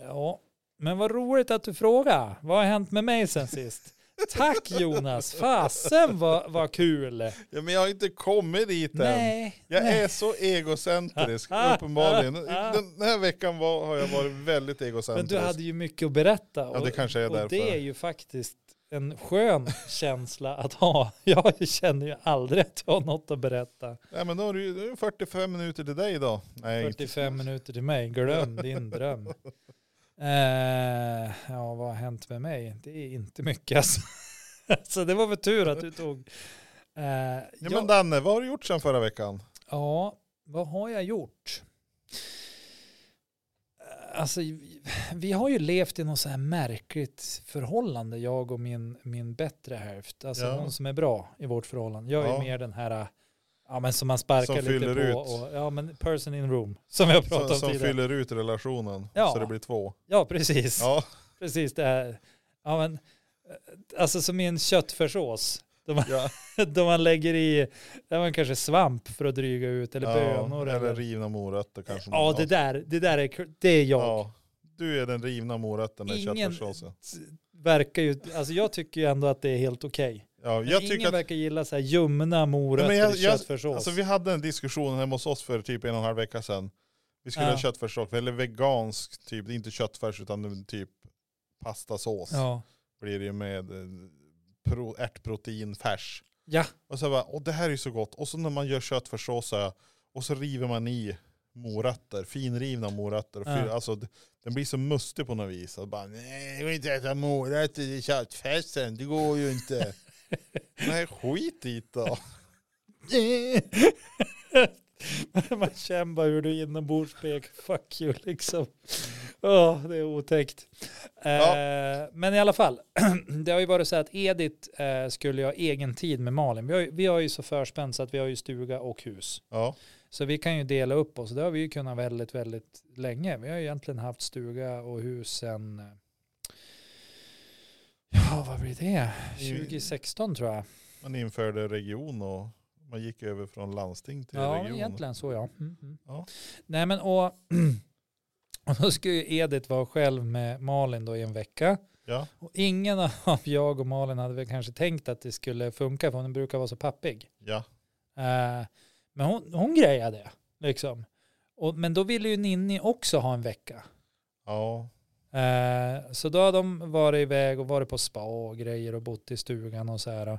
B: ja, men vad roligt att du frågar. Vad har hänt med mig sen sist? Tack Jonas, fasen vad, vad kul.
A: Ja, men jag har inte kommit dit än.
B: Nej,
A: Jag
B: nej.
A: är så egocentrisk, uppenbarligen. Den här veckan var, har jag varit väldigt
B: men
A: egocentrisk.
B: du hade ju mycket att berätta.
A: Ja, det kanske är
B: och
A: därför.
B: det är ju faktiskt en skön känsla att ha. Jag känner ju aldrig att jag har något att berätta.
A: Nej, men då har du ju då är det 45 minuter till dig idag. Nej, inte-
B: 45 minuter till mig, glöm din dröm. Eh, ja, vad har hänt med mig? Det är inte mycket alltså. Så det var väl tur att du tog. Eh,
A: Ja,
B: jag-
A: men Danne, vad har du gjort sedan förra veckan?
B: Ja, vad har jag gjort? Alltså, vi har ju levt i något så här märkligt förhållande, jag och min, min bättre hälft. Alltså
A: Ja.
B: hon som är bra i vårt förhållande. Jag är
A: Ja.
B: mer den här, eh, ja men som man sparkar
A: Som
B: lite
A: fyller
B: på.
A: ut.
B: Och, ja men person in room, som jag pratade
A: Som,
B: om
A: som
B: tidigare.
A: fyller ut relationen
B: Ja.
A: så det blir två.
B: Ja, precis.
A: Ja,
B: Precis det här. Ja, men, eh, alltså som i en köttfärssås.
A: ja.
B: Då man lägger i ja, men kanske svamp för att dryga ut eller
A: ja,
B: bönor.
A: eller,
B: Eller,
A: rivna morötter kanske. man-
B: ja, det där, det där är, kul. det är jag.
A: Ja. Du är den rivna morötten i
B: Ingen-
A: köttfärssåsen.
B: Verkar ju, alltså jag tycker ju ändå att det är helt okej.
A: Ja,
B: Men
A: jag
B: Ingen
A: tycker att,
B: verkar gilla så här ljumna morötter
A: Nej, men jag-
B: i
A: jag-
B: köttfärssås.
A: alltså, vi hade en diskussion hemma hos oss för typ en och en halv vecka sedan. Vi skulle
B: Ja.
A: ha köttfärssås, eller vegansk typ, det är inte köttfärs utan typ pastasås
B: ja.
A: blir det ju med eh, pro, ärtproteinfärs.
B: ja,
A: Och så bara, och det här är ju så gott. Och så när man gör köttfärssås så här, och så river man i morötter, finrivna morötter. Och fyller-
B: Ja.
A: Alltså, d- den blir så mustig på något vis. Och bara, nej, jag vill inte äta morötter i köttfärsen, det går ju inte. nej, skit i det då.
B: Eh. Man känner bara hur du inombords pek, fuck you liksom. Åh, det är otäckt.
A: Ja.
B: Eh, men i alla fall, det har ju varit så här att Edith eh, skulle ju ha egen tid med Malin. Vi har, ju- vi har ju så förspänt så att vi har ju stuga och hus.
A: Ja,
B: Så vi kan ju dela upp oss. Det har vi ju kunnat väldigt, väldigt länge. Vi har ju egentligen haft stuga och hus sedan, eh, ja vad blir det? 2016 tror jag.
A: man införde region och man gick över från landsting till
B: Ja,
A: region.
B: egentligen så ja. Mm, mm.
A: Ja.
B: Nej men och, och då ska ju Edith vara själv med Malin då i en vecka.
A: Ja,
B: Och ingen av jag och Malin hade väl kanske tänkt att det skulle funka för hon brukar vara så pappig.
A: ja,
B: Eh, men hon, hon grejade det liksom. Och, men då ville ju Ninni också ha en vecka.
A: ja.
B: Eh, så då har de varit iväg och varit på spa och grejer och bott i stugan och så här. Och,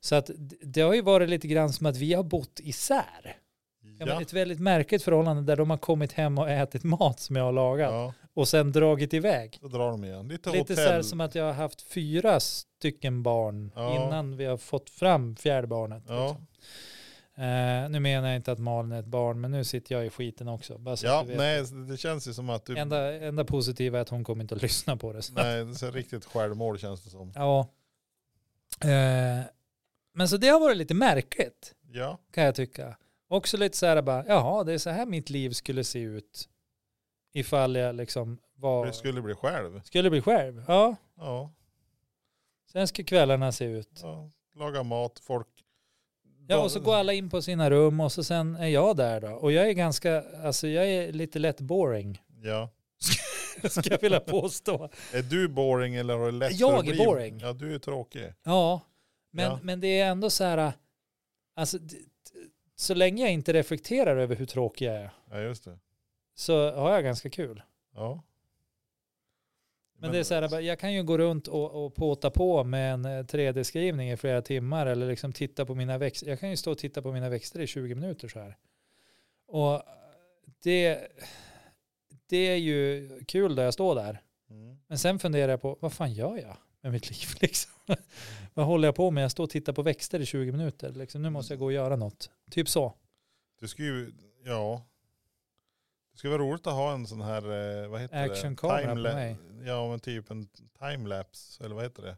B: så att d- det har ju varit lite grann som att vi har bott isär. Ja, men
A: Ja,
B: ett väldigt märkligt förhållande där de har kommit hem och ätit mat som jag har lagat
A: ja,
B: och sen dragit iväg.
A: då drar de igen. Lite,
B: Lite så här
A: hotell.
B: som att jag har haft fyra stycken barn
A: Ja.
B: innan vi har fått fram fjärde barnet.
A: Ja.
B: liksom. Eh, nu menar jag inte att Malin är ett barn, men nu sitter jag i skiten också. Bara så
A: Ja,
B: att Alltså, du vet.
A: nej, det känns ju som att du...
B: Enda, enda positiva är att hon kommer inte att lyssna på det. Så.
A: Nej, det är så riktigt självmål känns det som.
B: Ja. Eh, men så det har varit lite märkligt
A: Ja,
B: kan jag tycka. Också lite så här bara, jaha, det är så här mitt liv skulle se ut ifall jag liksom var,
A: Det skulle bli själv.
B: skulle bli själv. Ja,
A: Ja,
B: sen ska kvällarna se ut.
A: ja. Laga mat, folk.
B: Ja, och så går alla in på sina rum och så sen är jag där då. Och jag är ganska, alltså jag är lite lätt boring,
A: Ja.
B: ska jag vilja påstå.
A: Är du boring eller har du lätt
B: Jag
A: för att
B: är
A: bli-
B: boring.
A: Ja, du är tråkig.
B: Ja, men,
A: Ja.
B: men det är ändå så här, alltså d- d- så länge jag inte reflekterar över hur tråkig jag är
A: Ja, just det.
B: så har jag ganska kul.
A: Ja.
B: Men, det är så här, bara, jag kan ju gå runt och, och påta på med en eh, 3D-skrivning i flera timmar eller liksom titta på mina växter. Jag kan ju stå och titta på mina växter i 20 minuter så här. Och det, det är ju kul där jag står där.
A: Mm.
B: Men sen funderar jag på, vad fan gör jag med mitt liv liksom? vad håller jag på med? Jag står och tittar på växter i 20 minuter. Liksom, nu måste jag gå och göra något. Typ så.
A: Det skulle ju, ja. Det skulle vara roligt att ha en sån här, eh, vad heter
B: Actionkamera
A: det?
B: på
A: Timela-
B: mig.
A: Ja, men typ en timelapse, eller vad heter det?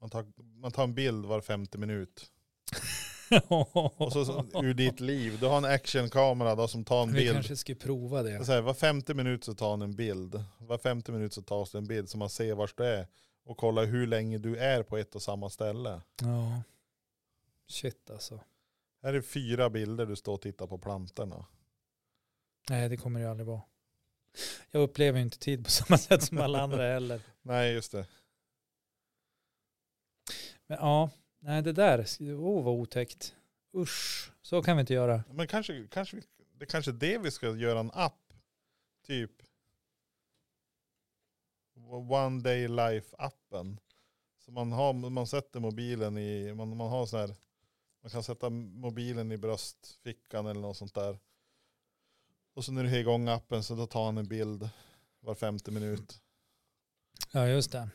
A: Man tar, man tar en bild var femte minut. Och så, så ur ditt liv, du har en actionkamera då som tar en
B: Vi
A: bild.
B: kanske ska prova det.
A: Så här, var femte minut så tar han en bild. Var femte minut så tas det en bild så man ser vart du är. Och kollar hur länge du är på ett och samma ställe.
B: Ja. Shit alltså.
A: Här är fyra bilder du står och tittar på plantorna.
B: Nej, det kommer det ju aldrig vara. Jag upplever ju inte tid på samma sätt som alla andra heller.
A: Nej just det.
B: Men ja, nej det där, oh vad otäckt. Usch, så kan vi inte göra.
A: Men kanske, kanske vi, det kanske är det vi ska göra en app. Typ. One day life appen. Så man, har, man sätter mobilen i, man, man har sån här, man kan sätta mobilen i bröstfickan eller något sånt där. Och så när du har igång appen så då tar han en bild var femte minut.
B: Ja, just det.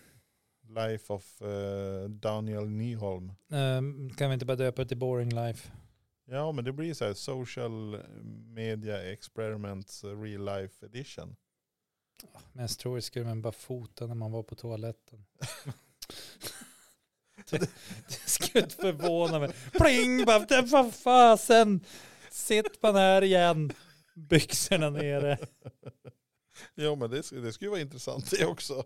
A: Life of eh, Daniel Nyholm.
B: Ehm, kan vi inte bara döpa det till Boring Life?
A: Ja men det blir så här social media experiments eh, real life edition.
B: Ah, Mest troligt skulle man bara fota när man var på toaletten. det, det skulle inte förvåna mig. Pling, bara, det- vad fasen. Sitter man här igen, byxorna nere.
A: Ja men det, skulle- det skulle vara intressant det också.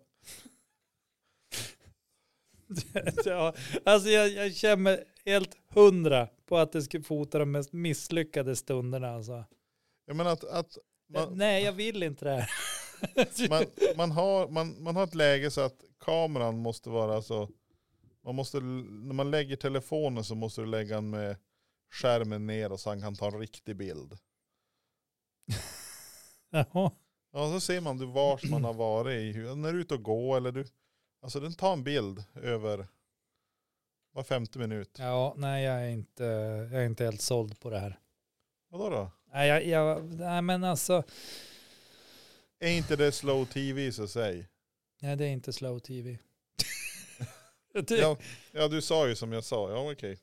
B: ja, alltså jag, jag känner mig helt hundra på att det skulle fota de mest misslyckade stunderna. Alltså.
A: Jag menar att, att man,
B: Nej, jag vill inte det här.
A: man, man, har, man, man har ett läge så att kameran måste vara så. Man måste, när man lägger telefonen så måste du lägga den med skärmen ner och så han kan ta en riktig bild.
B: Jaha.
A: Ja så ser man du vars man har varit i, hur- när du är ute och går eller du. Alltså den tar en bild över var femte minut.
B: Ja, nej jag är, inte, jag är inte helt såld på det här.
A: Vadå då?
B: Nej, jag, jag, nej men alltså,
A: Är inte det slow tv så säg?
B: nej, det är inte slow Typ. tv. det, ja.
A: Ja, ja du sa ju som jag sa, ja okej.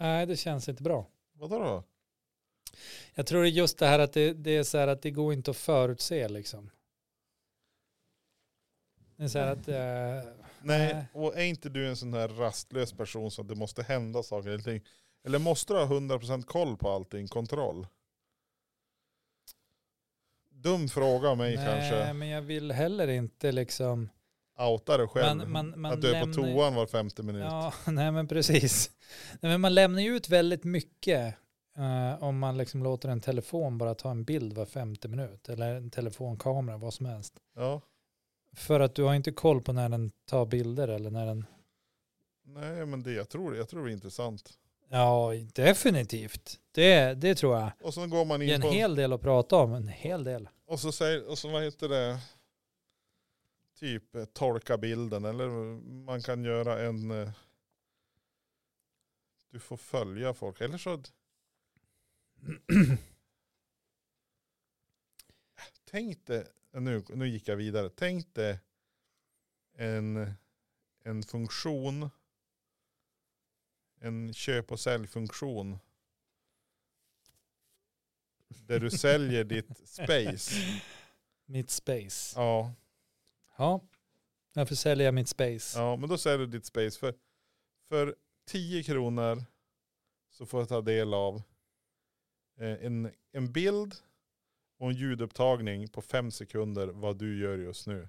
B: Nej, det känns inte bra.
A: Vadå då?
B: Jag tror det är just det här att det, det är så här att det går inte att förutse liksom. Det är så här att, eh, Nej.
A: Nej, och är inte du en sån här rastlös person så att det måste hända saker eller ting? Eller måste du ha 100% koll på allting, kontroll? Dum fråga av mig
B: nej
A: kanske.
B: men jag vill heller inte liksom,
A: Outa dig själv.
B: Man- man- man
A: att du är på
B: lämnar ju-
A: toan var femte minut.
B: ja nej men precis. Nej, men man lämnar ju ut väldigt mycket eh, om man liksom låter en telefon bara ta en bild var femte minut eller en telefonkamera, vad som helst.
A: Ja.
B: För att du har inte koll på när den tar bilder eller när den,
A: Nej men det, jag tror det, jag tror det är intressant.
B: ja definitivt, det, det tror jag.
A: Och så går man
B: Det är
A: in
B: en
A: på...
B: hel del att prata om, en hel del.
A: Och så säger, och så vad heter det? Typ eh, tolka bilden eller man kan göra en... eh, Du får följa folk. Eller så... Tänk dig, nu, nu gick jag vidare. Tänk dig en, en funktion, en köp och säljfunktion. Där du säljer ditt space.
B: Mitt space.
A: Ja,
B: Ja, varför säljer jag mitt space?
A: ja men då säljer du ditt space. För, för 10 kronor så får jag ta del av eh, en, en bild och en ljudupptagning på fem sekunder vad du gör just nu.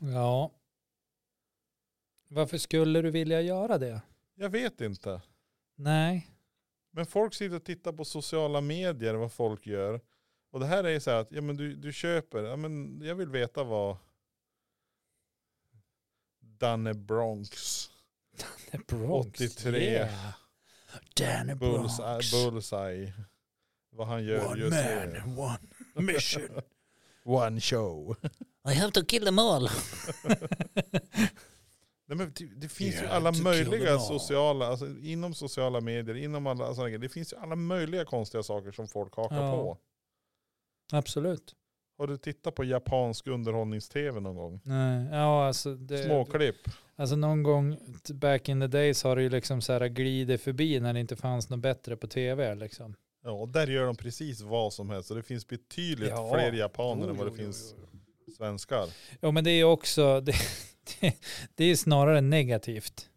B: Ja. Varför skulle du vilja göra det?
A: Jag vet inte.
B: Nej.
A: Men folk sitter och tittar på sociala medier vad folk gör. Och det här är ju så här att ja, men du, du köper, ja, men jag vill veta vad Danne Bronx,
B: The Bronx.
A: 83.
B: Yeah. Danny Bronx.
A: Bullseye, Bullseye, vad han gör
B: one
A: just nu.
B: man, one mission.
A: One show.
B: I have to kill them all.
A: Nej, men det, det finns ju
B: Yeah,
A: alla
B: to kill them
A: möjliga
B: all.
A: sociala, alltså, inom sociala medier, inom alla sådana grejer. Det finns ju alla möjliga konstiga saker som folk hakar
B: Ja.
A: på.
B: Absolut.
A: Har du tittat på japansk underhållnings-tv någon gång?
B: Nej, ja, alltså, det,
A: Småklipp.
B: alltså någon gång t- back in the days har det ju liksom så här glidit förbi när det inte fanns något bättre på tv. Liksom.
A: Ja, och där gör de precis vad som helst. Så det finns betydligt
B: Ja.
A: fler japaner
B: Jo,
A: än vad det
B: jo, jo,
A: finns svenskar.
B: Ja, men det är ju också, det, det, det är snarare negativt.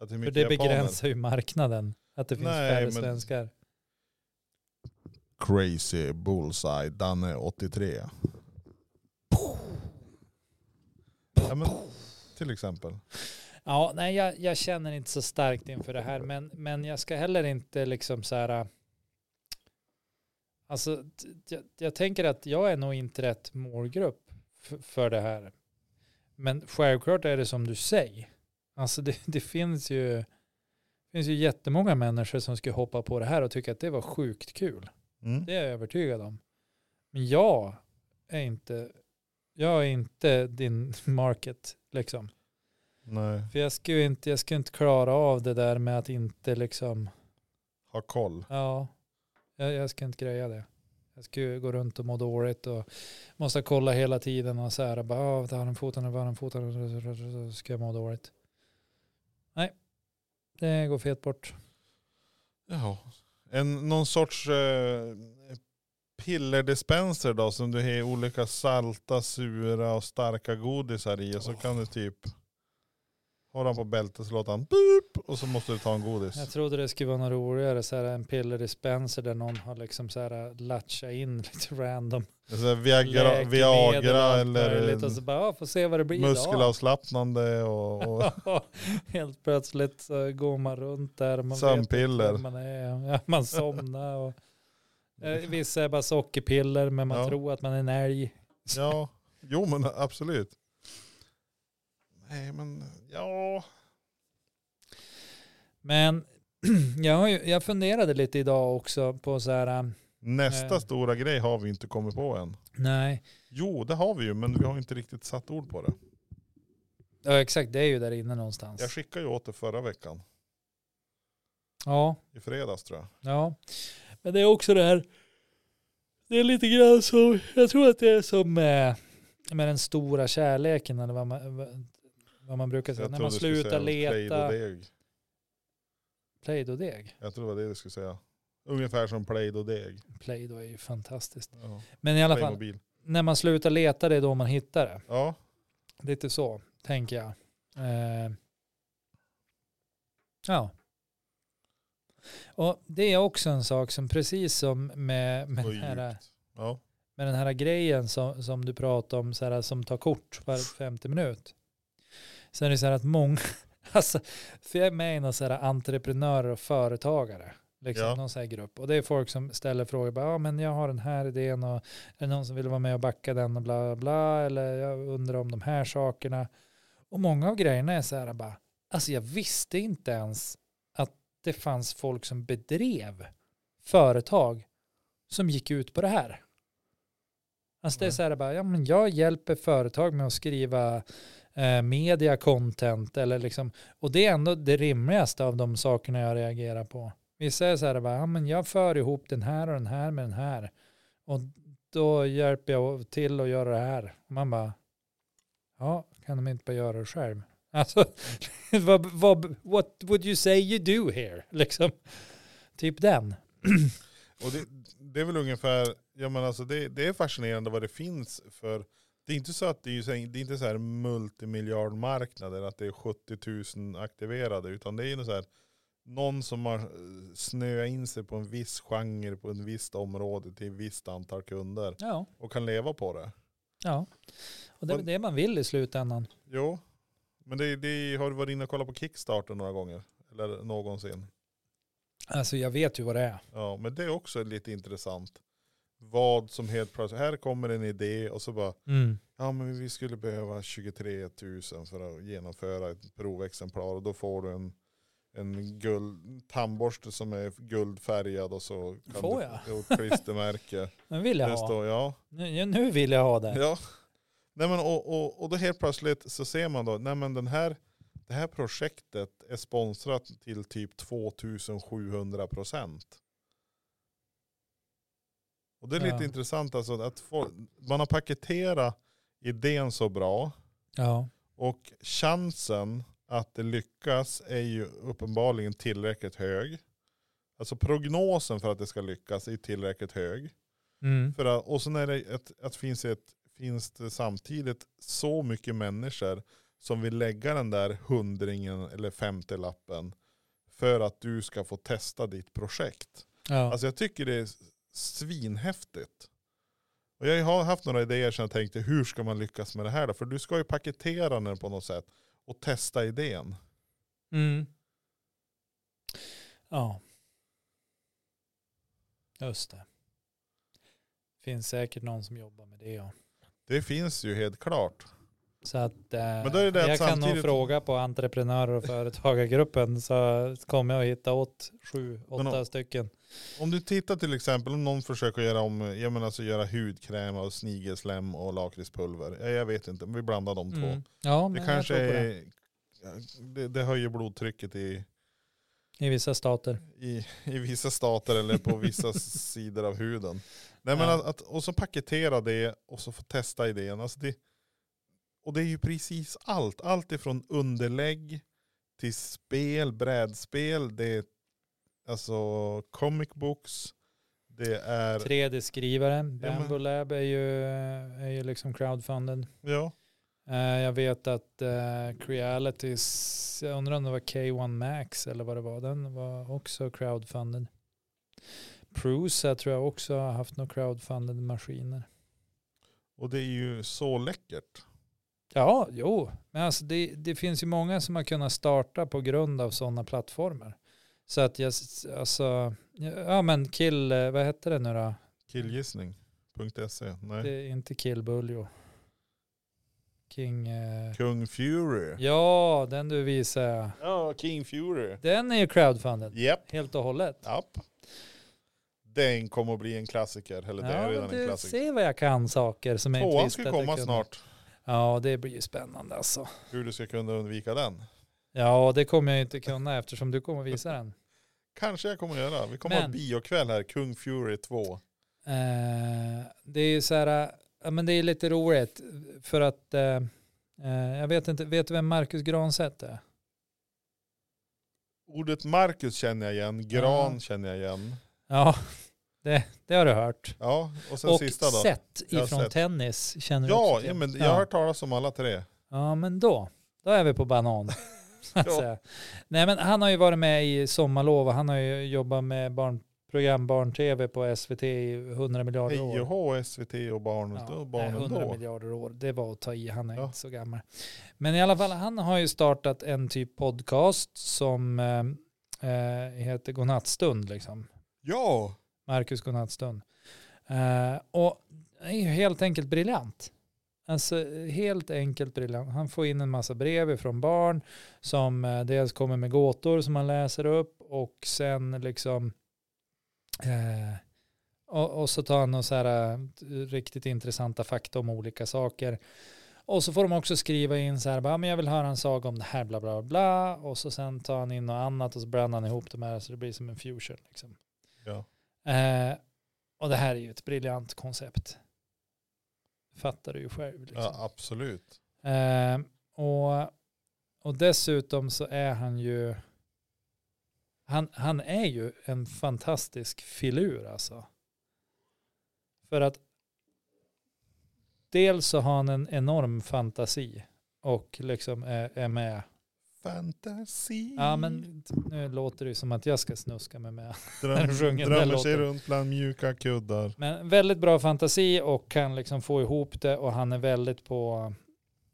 A: Att det är
B: För
A: mycket
B: det
A: japaner.
B: begränsar ju marknaden. Att det finns
A: Nej,
B: färre
A: men-
B: svenskar.
A: Crazy Bullseye, Danne 83. Ja, men, till exempel.
B: Ja, nej, jag, jag känner inte så starkt inför det här, men, men jag ska heller inte liksom så här... äh, Alltså, t- jag, jag tänker att jag är nog inte rätt målgrupp f- för det här. Men självklart är det som du säger. Alltså det, det finns ju finns ju jättemånga människor som skulle hoppa på det här och tycka att det var sjukt kul.
A: Mm.
B: Det är jag övertygad om. Men jag är inte, jag är inte din market liksom.
A: Nej,
B: För jag skulle ju inte, jag skulle inte klara av det där med att inte liksom,
A: ha koll.
B: ja, jag, jag skulle inte greja det. Jag skulle gå runt och må dåligt och måste kolla hela tiden och så här, bara, ah, där har den foten, där har den foten, ska jag må dåligt. Nej, det går fet bort.
A: Jaha. En, någon sorts eh, pillerdispenser då som du har olika salta, sura och starka godisar i. Och så
B: Åh.
A: kan du typ ha den på bältet så låter han boop och så måste du ta en godis.
B: Jag trodde det skulle vara något roligare, så här en pillerdispenser där någon har liksom så här latchat in lite random
A: Alltså, Viagra,
B: läkemedel och
A: Viagra
B: allt
A: eller
B: möjligt och så bara, ja, får se vad det blir idag.
A: muskelavslappnande och, och
B: Helt plötsligt så går man runt där. Man
A: Sömnpiller.
B: Vet inte vem man, är. Ja, man somnar. Och, eh, vissa är bara sockerpiller men man
A: Mm. Ja.
B: tror att man är en älg.
A: ja, jo men absolut. Nej men ja,
B: Men jag, har ju, jag funderade lite idag också på så här, eh,
A: nästa
B: Eh.
A: stora grej har vi inte kommit på än.
B: nej,
A: Jo det har vi ju men vi har inte riktigt satt ord på det.
B: ja, exakt det är ju där inne någonstans.
A: Jag skickade ju åt det förra veckan.
B: Ja,
A: I fredags tror jag.
B: ja. Men det är också det här, det är lite grann som, jag tror att det är som eh, med den stora kärleken eller vad man, vad- vad man brukar säga.
A: jag
B: När
A: trodde
B: man
A: du skulle
B: slutar
A: säga
B: leta.
A: Play-Doh-deg.
B: Play-Doh-deg.
A: Jag tror det var det du skulle säga. Ungefär som Play-Doh-deg.
B: Play-Doh är ju fantastiskt.
A: Ja.
B: Men i alla fall,
A: Playmobil.
B: när man slutar leta det är då man hittar det.
A: Ja,
B: Lite så, tänker jag. Eh, ja. Och det är också en sak som precis som med, med,
A: och
B: den, här,
A: djupt. Ja.
B: med den här grejen som, som du pratade om, så här, som tar kort var 50 minut. Sen är det så här att många, alltså, för jag är med i någon så här entreprenörer och företagare. Liksom,
A: Ja.
B: någon sån här grupp. Och det är folk som ställer frågor, bara, ja men jag har den här idén och är det någon som vill vara med och backa den och bla bla bla, eller jag undrar om de här sakerna. Och många av grejerna är så här bara, alltså jag visste inte ens att det fanns folk som bedrev företag som gick ut på det här. Alltså det är
A: Nej.
B: så här bara, ja men jag hjälper företag med att skriva eh, media content eller liksom, och det är ändå det rimligaste av de sakerna jag reagerar på. Vissa är så här, bara, ja, men jag för ihop den här och den här med den här. Och då hjälper jag till att göra det här. Och man bara, ja, kan de inte bara göra det själv? Alltså, vad, vad, what would you say you do here? Liksom, typ den.
A: Och det, det är väl ungefär, ja men alltså det, det är fascinerande vad det finns för Det är inte så att det är, så- det är inte så här multimiljardmarknader att det är 70 000 aktiverade utan det är ju så här någon som har eh, snöat in sig på en viss genre på ett visst område till ett visst antal kunder
B: Ja,
A: och kan leva på det.
B: ja. Och det är väl det man vill i slutändan.
A: Jo, men det, det har du varit inne och kollat på Kickstarter några gånger eller någonsin.
B: Alltså jag vet ju vad det är.
A: Ja, men det är också lite intressant. Vad som helt plötsligt, här kommer en idé och så bara
B: Mm.
A: Ja men vi skulle behöva 23 000 för att genomföra ett provexemplar och då får du en, en guld, en tandborste som är guldfärgad och så kan
B: Får
A: du-
B: jag?
A: jo, klistermärke.
B: Nu vill jag
A: det
B: ha.
A: står ja.
B: Nu, nu vill jag ha det.
A: ja. Nej, men, och, och, och då helt plötsligt så ser man då, nej men den här, det här projektet är sponsrat till typ 2700 procent. Och det är lite
B: Ja.
A: intressant alltså att folk, man har paketerat idén så bra.
B: Ja.
A: Och chansen att det lyckas är ju uppenbarligen tillräckligt hög. Alltså prognosen för att det ska lyckas är tillräckligt hög.
B: Mm.
A: För att, och sen är det ett, att finns, ett, finns det samtidigt så mycket människor som vill lägga den där hundringen eller femtelappen för att du ska få testa ditt projekt.
B: Ja.
A: Alltså jag tycker det är svinhäftigt. Och jag har haft några idéer som jag tänkte, hur ska man lyckas med det här då? För du ska ju paketera den på något sätt och testa idén.
B: Mm. Ja. Just det. Finns säkert någon som jobbar med det. Ja.
A: Det finns ju helt klart.
B: Så att, eh,
A: Men då är det det att
B: jag kan nog
A: samtidigt-
B: fråga på entreprenörer och företagargruppen så kommer jag hitta åt sju,
A: Men
B: åtta
A: om-
B: stycken.
A: Om du tittar till exempel om någon försöker göra om, jag menar alltså göra hudkräm av snigelslem och lakritspulver. Ja, jag vet inte, men vi blandar de två.
B: Mm. Ja, men
A: Det
B: jag
A: kanske
B: tror på det.
A: är, det, det höjer blodtrycket i,
B: I vissa stater.
A: i, i vissa stater eller på vissa s- sidor av huden. Nej, men
B: Ja.
A: att, att, och så paketera det och så få testa idén. Alltså det, och det är ju precis allt. Allt ifrån underlägg till spel, brädspel, det är alltså comic books, det är
B: 3D-skrivare,
A: men-
B: Bamboo Lab är ju, är ju liksom crowdfunded.
A: ja,
B: Eh, Jag vet att uh, Crealities, jag undrar om det var K1 Max eller vad det var, den var också crowdfunded. Prusa tror jag också har haft några crowdfunded maskiner.
A: och det är ju så läckert.
B: Ja, jo, men alltså det, det finns ju många som har kunnat starta på grund av sådana plattformar. Så att jag, s- alltså, ja men Kill, eh, vad hette det nu då?
A: Killgissning.se, E. nej.
B: Det är inte Kill Buljo. King, eh,
A: Kung Fury.
B: ja den du visade.
A: Ja, King Fury.
B: Den är ju crowdfunded.
A: Japp.
B: Helt och hållet.
A: Japp. Den kommer att bli en klassiker, eller det är
B: men
A: redan en
B: du
A: klassiker.
B: ser vad jag kan saker som jag inte
A: Tvåan
B: visste
A: ska
B: att jag
A: komma
B: kunde.
A: snart.
B: Ja, det blir ju spännande alltså.
A: Hur du ska kunna undvika den.
B: Ja, det kommer jag ju inte kunna eftersom du kommer visa den.
A: Kanske jag kommer göra. Vi kommer
B: Men-
A: ha biokväll här, Kung Fury 2.
B: Eh, det är ju så här, ja, men det är lite roligt för att eh, eh, jag vet inte, vet du vem Marcus Granstedt är?
A: Ordet Marcus känner jag igen, Gran
B: Ja.
A: känner jag igen.
B: Ja, det, det har du hört.
A: Ja, och sen
B: Och
A: sista då.
B: Sett
A: Jag har
B: ifrån
A: sett.
B: tennis känner du
A: Ja,
B: också till.
A: ja, men jag har hört talas om alla tre.
B: Ja, men då. Då är vi på banan. så att
A: Ja.
B: säga. Nej, men han har ju varit med i Sommarlov och han har ju jobbat med barnprogram, barn-tv på SVT i 100 miljarder
A: Hej
B: år.
A: och hå, SVT och barnen då.
B: nej,
A: Barnen
B: 100
A: då.
B: miljarder år, det var att ta i, han är
A: Ja.
B: inte så gammal. Men i alla fall, han har ju startat en typ podcast som eh, eh, heter Godnattstund, liksom.
A: Ja,
B: Marcus Godnattstund. Eh, och det är ju helt enkelt briljant. Alltså helt enkelt briljant. Han får in en massa brev från barn som eh, dels kommer med gåtor som han läser upp och sen liksom eh, och, och så tar han några så här eh, riktigt intressanta fakta om olika saker. Och så får de också skriva in så här, bara, "Ja, men jag vill höra en saga om det här, bla bla bla. Och så sen tar han in något annat och så blandar han ihop de här så det blir som en fusion. Liksom.
A: ja.
B: Eh, och det här är ju ett briljant koncept. Fattar du ju själv. Liksom.
A: ja absolut.
B: Eh, och, och dessutom så är han ju han, han är ju en fantastisk filur alltså. För att dels så har han en enorm fantasi och liksom är, är med.
A: Fantasi.
B: Ja men nu låter det ju som att jag ska snuska mig med.
A: Dröm,
B: den sjunger den
A: drömmer sig
B: låten.
A: runt bland mjuka kuddar.
B: Men väldigt bra fantasi och kan liksom få ihop det och han är väldigt på,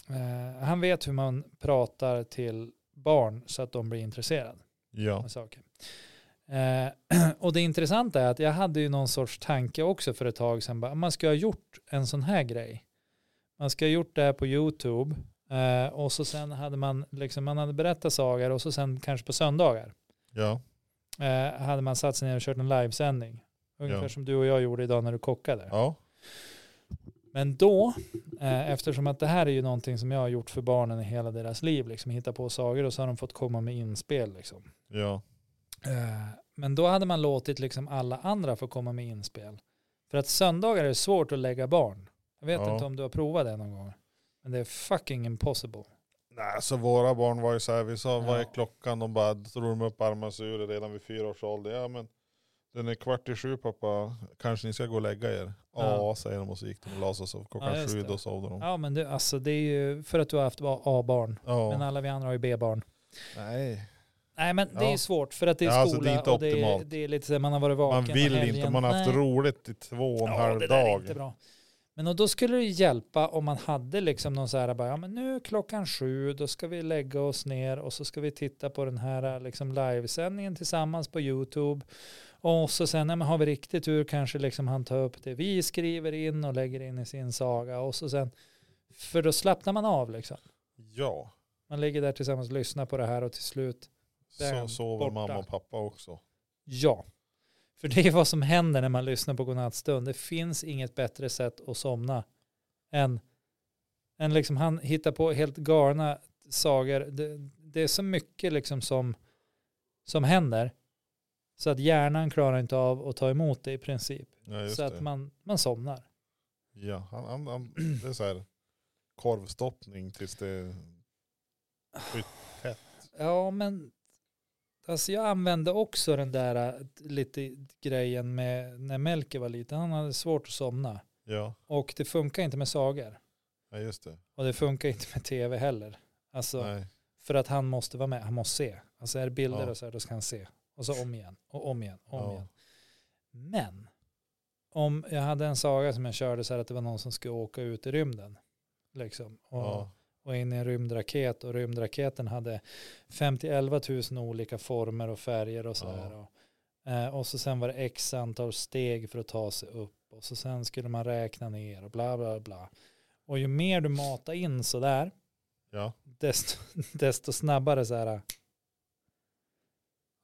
B: eh, han vet hur man pratar till barn så att de blir intresserade
A: Ja.
B: med saker. Eh, och det intressanta är att jag hade ju någon sorts tanke också för ett tag sedan, bara, "Ah, man ska ha gjort en sån här grej. Man ska ha gjort det här på YouTube eh, och så sen hade man, liksom, man hade berättat sagor och så sen kanske på söndagar
A: Ja.
B: eh, hade man satt sig ner och kört en livesändning. Ungefär
A: Ja.
B: som du och jag gjorde idag när du kockade.
A: Ja.
B: Men då, eh, eftersom att det här är ju någonting som jag har gjort för barnen i hela deras liv, liksom hitta på sagor och så har de fått komma med inspel. Liksom.
A: Ja.
B: Eh, men då hade man låtit liksom alla andra få komma med inspel. För att söndagar är svårt att lägga barn. Jag vet
A: Ja.
B: inte om du har provat det någon gång. Men det är fucking impossible.
A: Nej, så våra barn var ju så här, vi sa vad är
B: Ja.
A: klockan? De bara drog de upp armarna så gjorde det redan vid fyra års ålder. Ja men den är kvart i sju pappa, kanske ni ska gå och lägga er? Ja,
B: Ja.
A: säger de och så gick de och la sig och sov klockan
B: Ja, just
A: sju,
B: det.
A: då sov de.
B: Ja men det, alltså, det är ju för att du har haft A-barn.
A: Ja.
B: Men äh, alla vi andra har ju B-barn.
A: Nej.
B: Nej men det är
A: Ja.
B: ju svårt för att det är
A: Ja,
B: skola
A: alltså, det är inte
B: och det är,
A: optimalt.
B: det är lite så här, man har varit vaken
A: Man vill
B: och
A: inte, man har haft
B: Nej.
A: roligt i två och en
B: ja,
A: halv
B: det där är inte
A: dag.
B: bra. Men och då skulle det ju hjälpa om man hade liksom någon så här, bara, ja men nu är klockan sju, då ska vi lägga oss ner och så ska vi titta på den här liksom livesändningen tillsammans på YouTube. Och så sen, ja, men har vi riktigt tur kanske liksom han tar upp det vi skriver in och lägger in i sin saga och så sen, för då slappnar man av liksom.
A: Ja,
B: Man ligger där tillsammans och lyssnar på det här och till slut
A: så
B: Bam,
A: sover
B: borta.
A: mamma och pappa också.
B: Ja. För det är vad som händer när man lyssnar på godnattstund. Det finns inget bättre sätt att somna än, än liksom han hittar på helt galna sagor. Det, det är så mycket liksom som, som händer så att hjärnan klarar inte av att ta emot det i princip.
A: Ja, just
B: så att
A: det.
B: man, man somnar.
A: Ja, han, han, han, det är så här korvstoppning tills det...
B: Ja, men alltså jag använde också den där äh, lite grejen med när Melker var liten. Han hade svårt att somna
A: Ja,
B: och det funkar inte med sagor.
A: ja just det.
B: Och det funkar inte med tv heller. Alltså,
A: Nej.
B: för att han måste vara med, han måste se. Alltså är det bilder
A: Ja.
B: och så här, då ska han se. Och så om igen, och om igen, och
A: Ja.
B: om igen. Men, om jag hade en saga som jag körde så här att det var någon som skulle åka ut i rymden. Liksom. Och,
A: Ja.
B: och in i en rymdraket och rymdraketen hade 50-11 000 olika former och färger och
A: Ja.
B: sådär. Och, eh, och så sen var det x antal steg för att ta sig upp och så sen skulle man räkna ner och bla bla bla. Och ju mer du matar in sådär,
A: Ja,
B: desto, desto snabbare så här.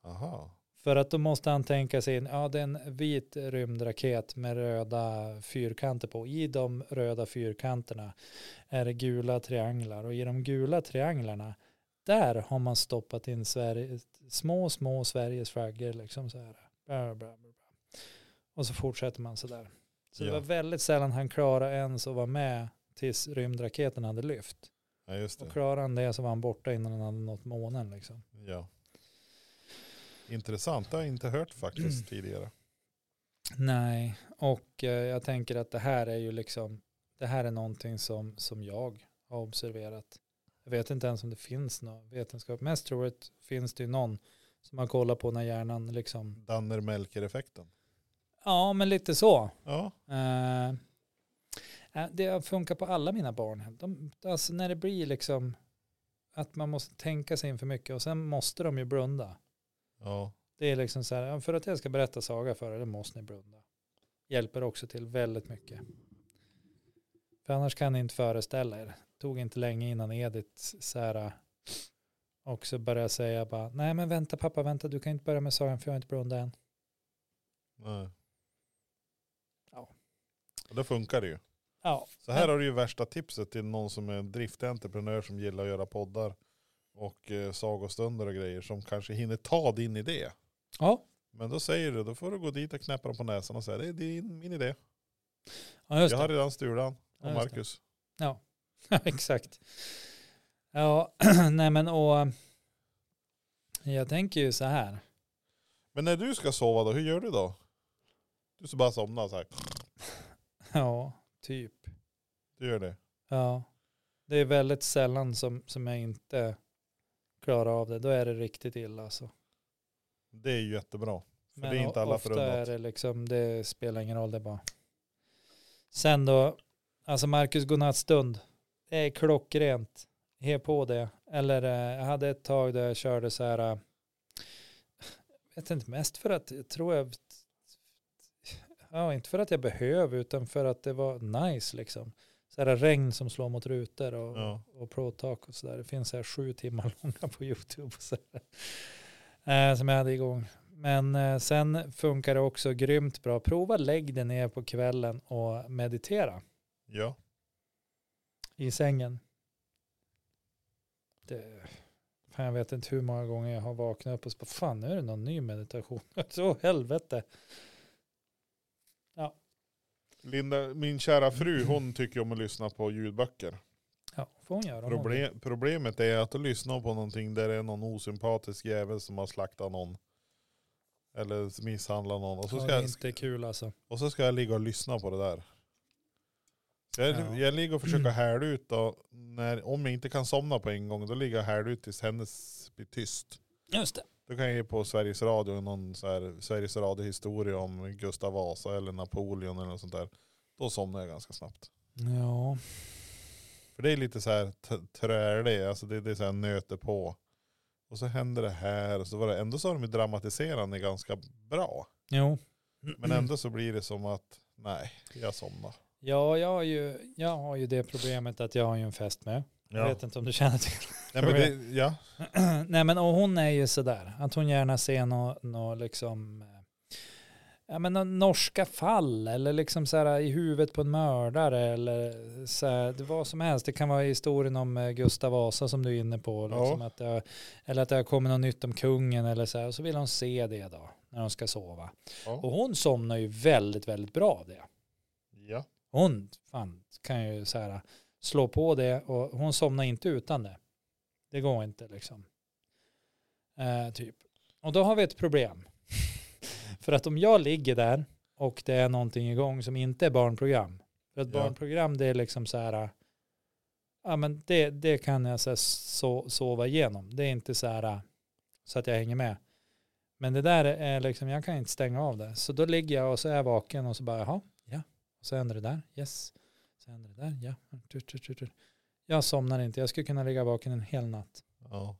A: aha.
B: För att då måste han tänka sig in, ja det är en vit rymdraket med röda fyrkanter på. I de röda fyrkanterna är det gula trianglar och i de gula trianglarna där har man stoppat in Sverige, små, små Sveriges flaggor liksom så här. Bla, bla, bla, bla. Och så fortsätter man så där. Så det
A: Ja.
B: var väldigt sällan han klarade ens att vara med tills rymdraketen hade lyft.
A: Ja, just
B: Och
A: det.
B: klarade han det så var han borta innan han hade nått månen liksom.
A: Ja. Intressant, det har jag inte hört
B: Mm.
A: faktiskt tidigare.
B: Nej, och eh, jag tänker att det här är ju liksom, det här är någonting som, som jag har observerat. Jag vet inte ens om det finns någon vetenskap. Mest troligt finns det ju någon som man kollar på när hjärnan liksom,
A: Danner-Melker-effekten.
B: ja men lite så.
A: Ja,
B: Eh, eh, det funkar på alla mina barn. De, alltså när det blir liksom att man måste tänka sig in för mycket och sen måste de ju blunda.
A: ja,
B: Det är liksom så här, ja, för att jag ska berätta saga för er, då måste ni blunda. Hjälper också till väldigt mycket. För annars kan ni inte föreställa er. Tog inte länge innan Edith så här också började säga bara, nej men vänta pappa, vänta, du kan inte börja med sagan för jag har inte blundat än.
A: nej.
B: Ja.
A: Och Då funkar det ju.
B: Ja,
A: Så här har du ju värsta tipset till någon som är driftentreprenör som gillar att göra poddar och eh, sagostunder och grejer som kanske hinner ta din idé.
B: Ja.
A: Men då säger du, då får du gå dit och knäppa dem på näsan och säga det är din, min idé.
B: ja just
A: jag
B: det.
A: har redan stulan
B: Ja,
A: och
B: just det.
A: Marcus.
B: Ja, exakt. Ja, nej men och jag tänker ju så här.
A: Men när du ska sova då, hur gör du då? Du ska bara somna så här.
B: Ja, typ.
A: Det gör det.
B: Ja. Det är väldigt sällan som, som jag inte klarar av det. Då är det riktigt illa alltså.
A: Det är ju jättebra. För
B: Men
A: det är inte
B: o-
A: alla
B: ofta är
A: förunnat.
B: det liksom, det spelar ingen roll, det är bara. Sen då, alltså Marcus godnattstund, det är klockrent. He på det. Eller eh, jag hade ett tag där jag körde så här, eh, jag vet inte, mest för att jag tror jag, ja inte för att jag behöver utan för att det var nice liksom. Så här regn som slår mot rutor och,
A: Ja.
B: och Pro Talk och sådär. Det finns så här sju timmar långa på YouTube. Och så här, eh, som jag hade igång. Men eh, sen funkar det också grymt bra. Prova lägg dig ner på kvällen och meditera
A: Ja.
B: i sängen. Det, fan, jag vet inte hur många gånger jag har vaknat upp och så bara, fan nu är det någon ny meditation. Så helvete.
A: Linda, min kära fru, hon tycker om att lyssna på ljudböcker.
B: Ja, får hon göra. om hon vill.
A: Proble- problemet är att lyssna på någonting där det är någon osympatisk jävel som har slaktat någon. Eller misshandlat någon. Och så
B: Ja,
A: ska,
B: det är
A: jag,
B: inte kul alltså.
A: och så ska jag ligga och lyssna på det där. Så jag,
B: Ja.
A: jag ligger och försöker härda ut då, när, om jag inte kan somna på en gång, då ligger jag och härda ut tills hennes blir tyst.
B: Just det.
A: Då kan jag ge på Sveriges Radio någon så här, Sveriges Radio historia om Gustav Vasa eller Napoleon eller något sånt där. Då somnar jag ganska snabbt.
B: Ja.
A: För det är lite så här t- trälig, alltså det, det är så här nöter på. Och så händer det här och så var det, ändå så har de ju dramatiserat det ganska bra.
B: Jo.
A: Men ändå så blir det som att, nej, jag somnar.
B: Ja, jag har, ju, jag har ju det problemet att jag har ju en fest med. Jag vet inte om du känner till
A: Nej, men det, ja.
B: Nej men och hon är ju sådär, att hon gärna ser något nå liksom, eh, ja men nå- norska fall eller liksom såhär i huvudet på en mördare eller såhär, det vad som helst. Det kan vara historien om eh, Gustav Vasa som du är inne på, liksom, att det, har- eller att det har kommit något nytt om kungen eller så här, och så vill hon se det då när hon ska sova. Och
A: Ja.
B: hon somnar ju väldigt, väldigt bra av det.
A: ja.
B: Hon fan, kan ju så här, slå på det och hon somnar inte utan det. Det går inte liksom. Eh, typ. Och då har vi ett problem. För att om jag ligger där och det är någonting igång som inte är barnprogram. För att
A: Ja.
B: barnprogram det är liksom så här, ja men det, det kan jag så här, so, sova igenom. Det är inte så här så att jag hänger med. Men det där är liksom, jag kan inte stänga av det. Så då ligger jag och så är jag vaken och så bara, jaha, ja. Och så händer det där, yes. Så händer det där, ja. Tur, tur, tur, tur. Jag somnar inte, jag skulle kunna ligga vaken en hel natt.
A: Ja.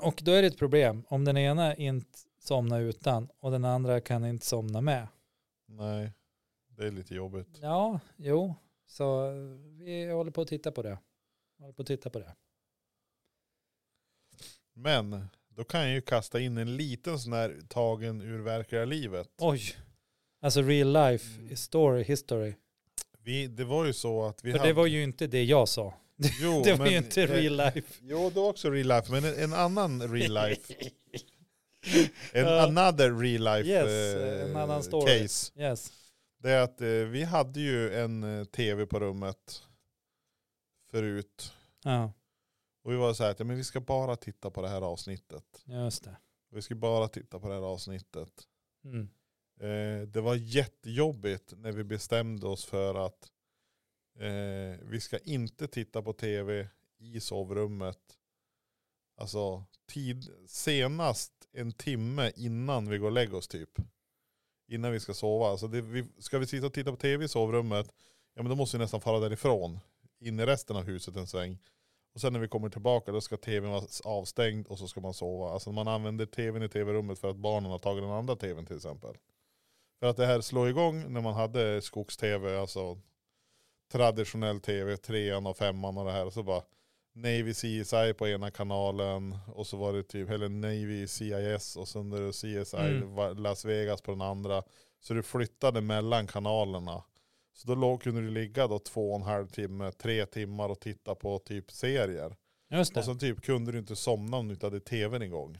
B: Och då är det ett problem om den ena inte somnar utan och den andra kan inte somna med.
A: Nej, det är lite jobbigt.
B: Ja, jo, så vi håller på att titta på det. Håller på att titta på det.
A: Men då kan jag ju kasta in en liten sån här tagen ur verkliga livet.
B: Oj, alltså real life story, history.
A: Vi, det var ju så att Mm. vi
B: För det var ju inte det jag sa.
A: jo,
B: Det var
A: men- eh,
B: ju inte real life.
A: Jo, det var också real life, men en, en annan real life. En
B: Ja.
A: another real life
B: Yes,
A: eh,
B: en annan story.
A: case.
B: Yes.
A: Det är att eh, vi hade ju en eh, tv på rummet förut.
B: Ja,
A: Och vi var så här att ja, men vi ska bara titta på det här avsnittet.
B: just det.
A: Vi ska bara titta på det här avsnittet.
B: Mm.
A: Eh, det var jättejobbigt när vi bestämde oss för att eh, vi ska inte titta på tv i sovrummet. Alltså tid, senast en timme innan vi går och lägger oss typ. Innan vi ska sova. Alltså det, vi, ska vi sitta och titta på tv i sovrummet, ja men då måste vi nästan fara därifrån. In i resten av huset en sväng. Och sen när vi kommer tillbaka då ska tvn vara avstängd och så ska man sova. Alltså man använder tvn i tv-rummet för att barnen har tagit den andra tvn till exempel. För att det här slog igång när man hade skogs-tv, alltså traditionell tv, trean och femman och det här. Och så bara Navy CSI på ena kanalen och så var det typ, eller Navy CIS och sen var det CSI
B: Mm.
A: Va- Las Vegas på den andra. Så du flyttade mellan kanalerna. Så då låg, kunde du ligga då två och en halv timme, tre timmar och titta på typ serier.
B: Just
A: Och
B: det.
A: sen typ kunde du inte somna om du inte hade tvn igång.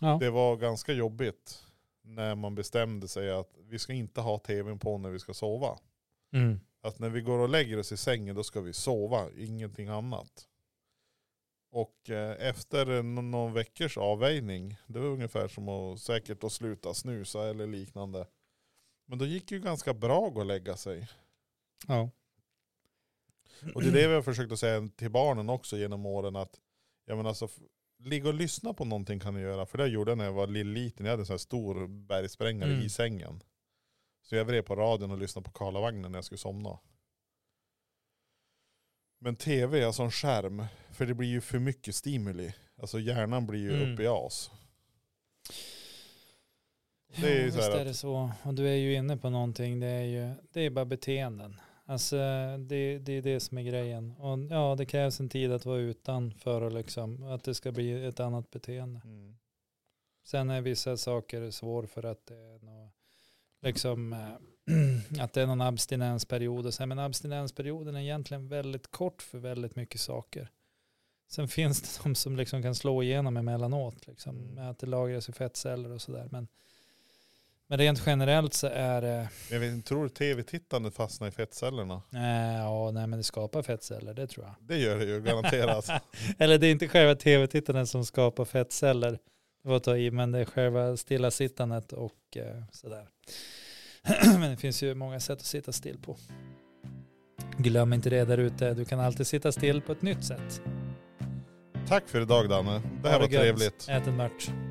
B: Ja.
A: Det var ganska jobbigt när man bestämde sig att vi ska inte ha tvn på när vi ska sova.
B: Mm.
A: Att när vi går och lägger oss i sängen då ska vi sova, ingenting annat. Och eh, efter n- någon veckors avväjning, det var ungefär som att säkert att sluta snusa eller liknande. Men då gick det ju ganska bra att gå och lägga sig.
B: Ja.
A: Och det är det vi har försökt att säga till barnen också genom åren att jag menar alltså, f- ligga och lyssna på någonting kan du göra. För det gjorde jag när jag var lill- liten. Jag hade en sån här stor bergsprängare
B: Mm.
A: i sängen. Så jag vred på radion och lyssnade på Karlavagnen när jag skulle somna. Men tv, alltså en skärm. För det blir ju för mycket stimuli. Alltså hjärnan blir ju
B: Mm.
A: uppe i as.
B: Det
A: Det är ju
B: visst
A: så här
B: är det så. Och du är ju inne på någonting. Det är ju det är bara beteenden. Alltså det, det är det som är grejen. Och ja, det krävs en tid att vara utan för att, liksom, att det ska bli ett annat beteende.
A: Mm.
B: Sen är vissa saker svår för att det är nå- liksom, eh, att det är någon abstinensperiod. Och så här, men abstinensperioden är egentligen väldigt kort för väldigt mycket saker. Sen finns det de som liksom kan slå igenom emellanåt, liksom,
A: Mm.
B: med att det lagras i fettceller och sådär. Men, men rent generellt så är det,
A: Men jag vet, inte, tror du tv-tittandet fastnar i fettcellerna?
B: eh, ja, nej men det skapar fettceller, det tror jag.
A: Det gör det ju garanterat.
B: Eller det är inte själva tv-tittandet som skapar fettceller. Det var att ta i, men det är själva stillasittandet och eh, sådär. men det finns ju många sätt att sitta still på. Glöm inte det där ute. Du kan alltid sitta still på ett nytt sätt.
A: Tack för idag Danne. Det här
B: Ha
A: var
B: gött.
A: trevligt.
B: Ät en mört.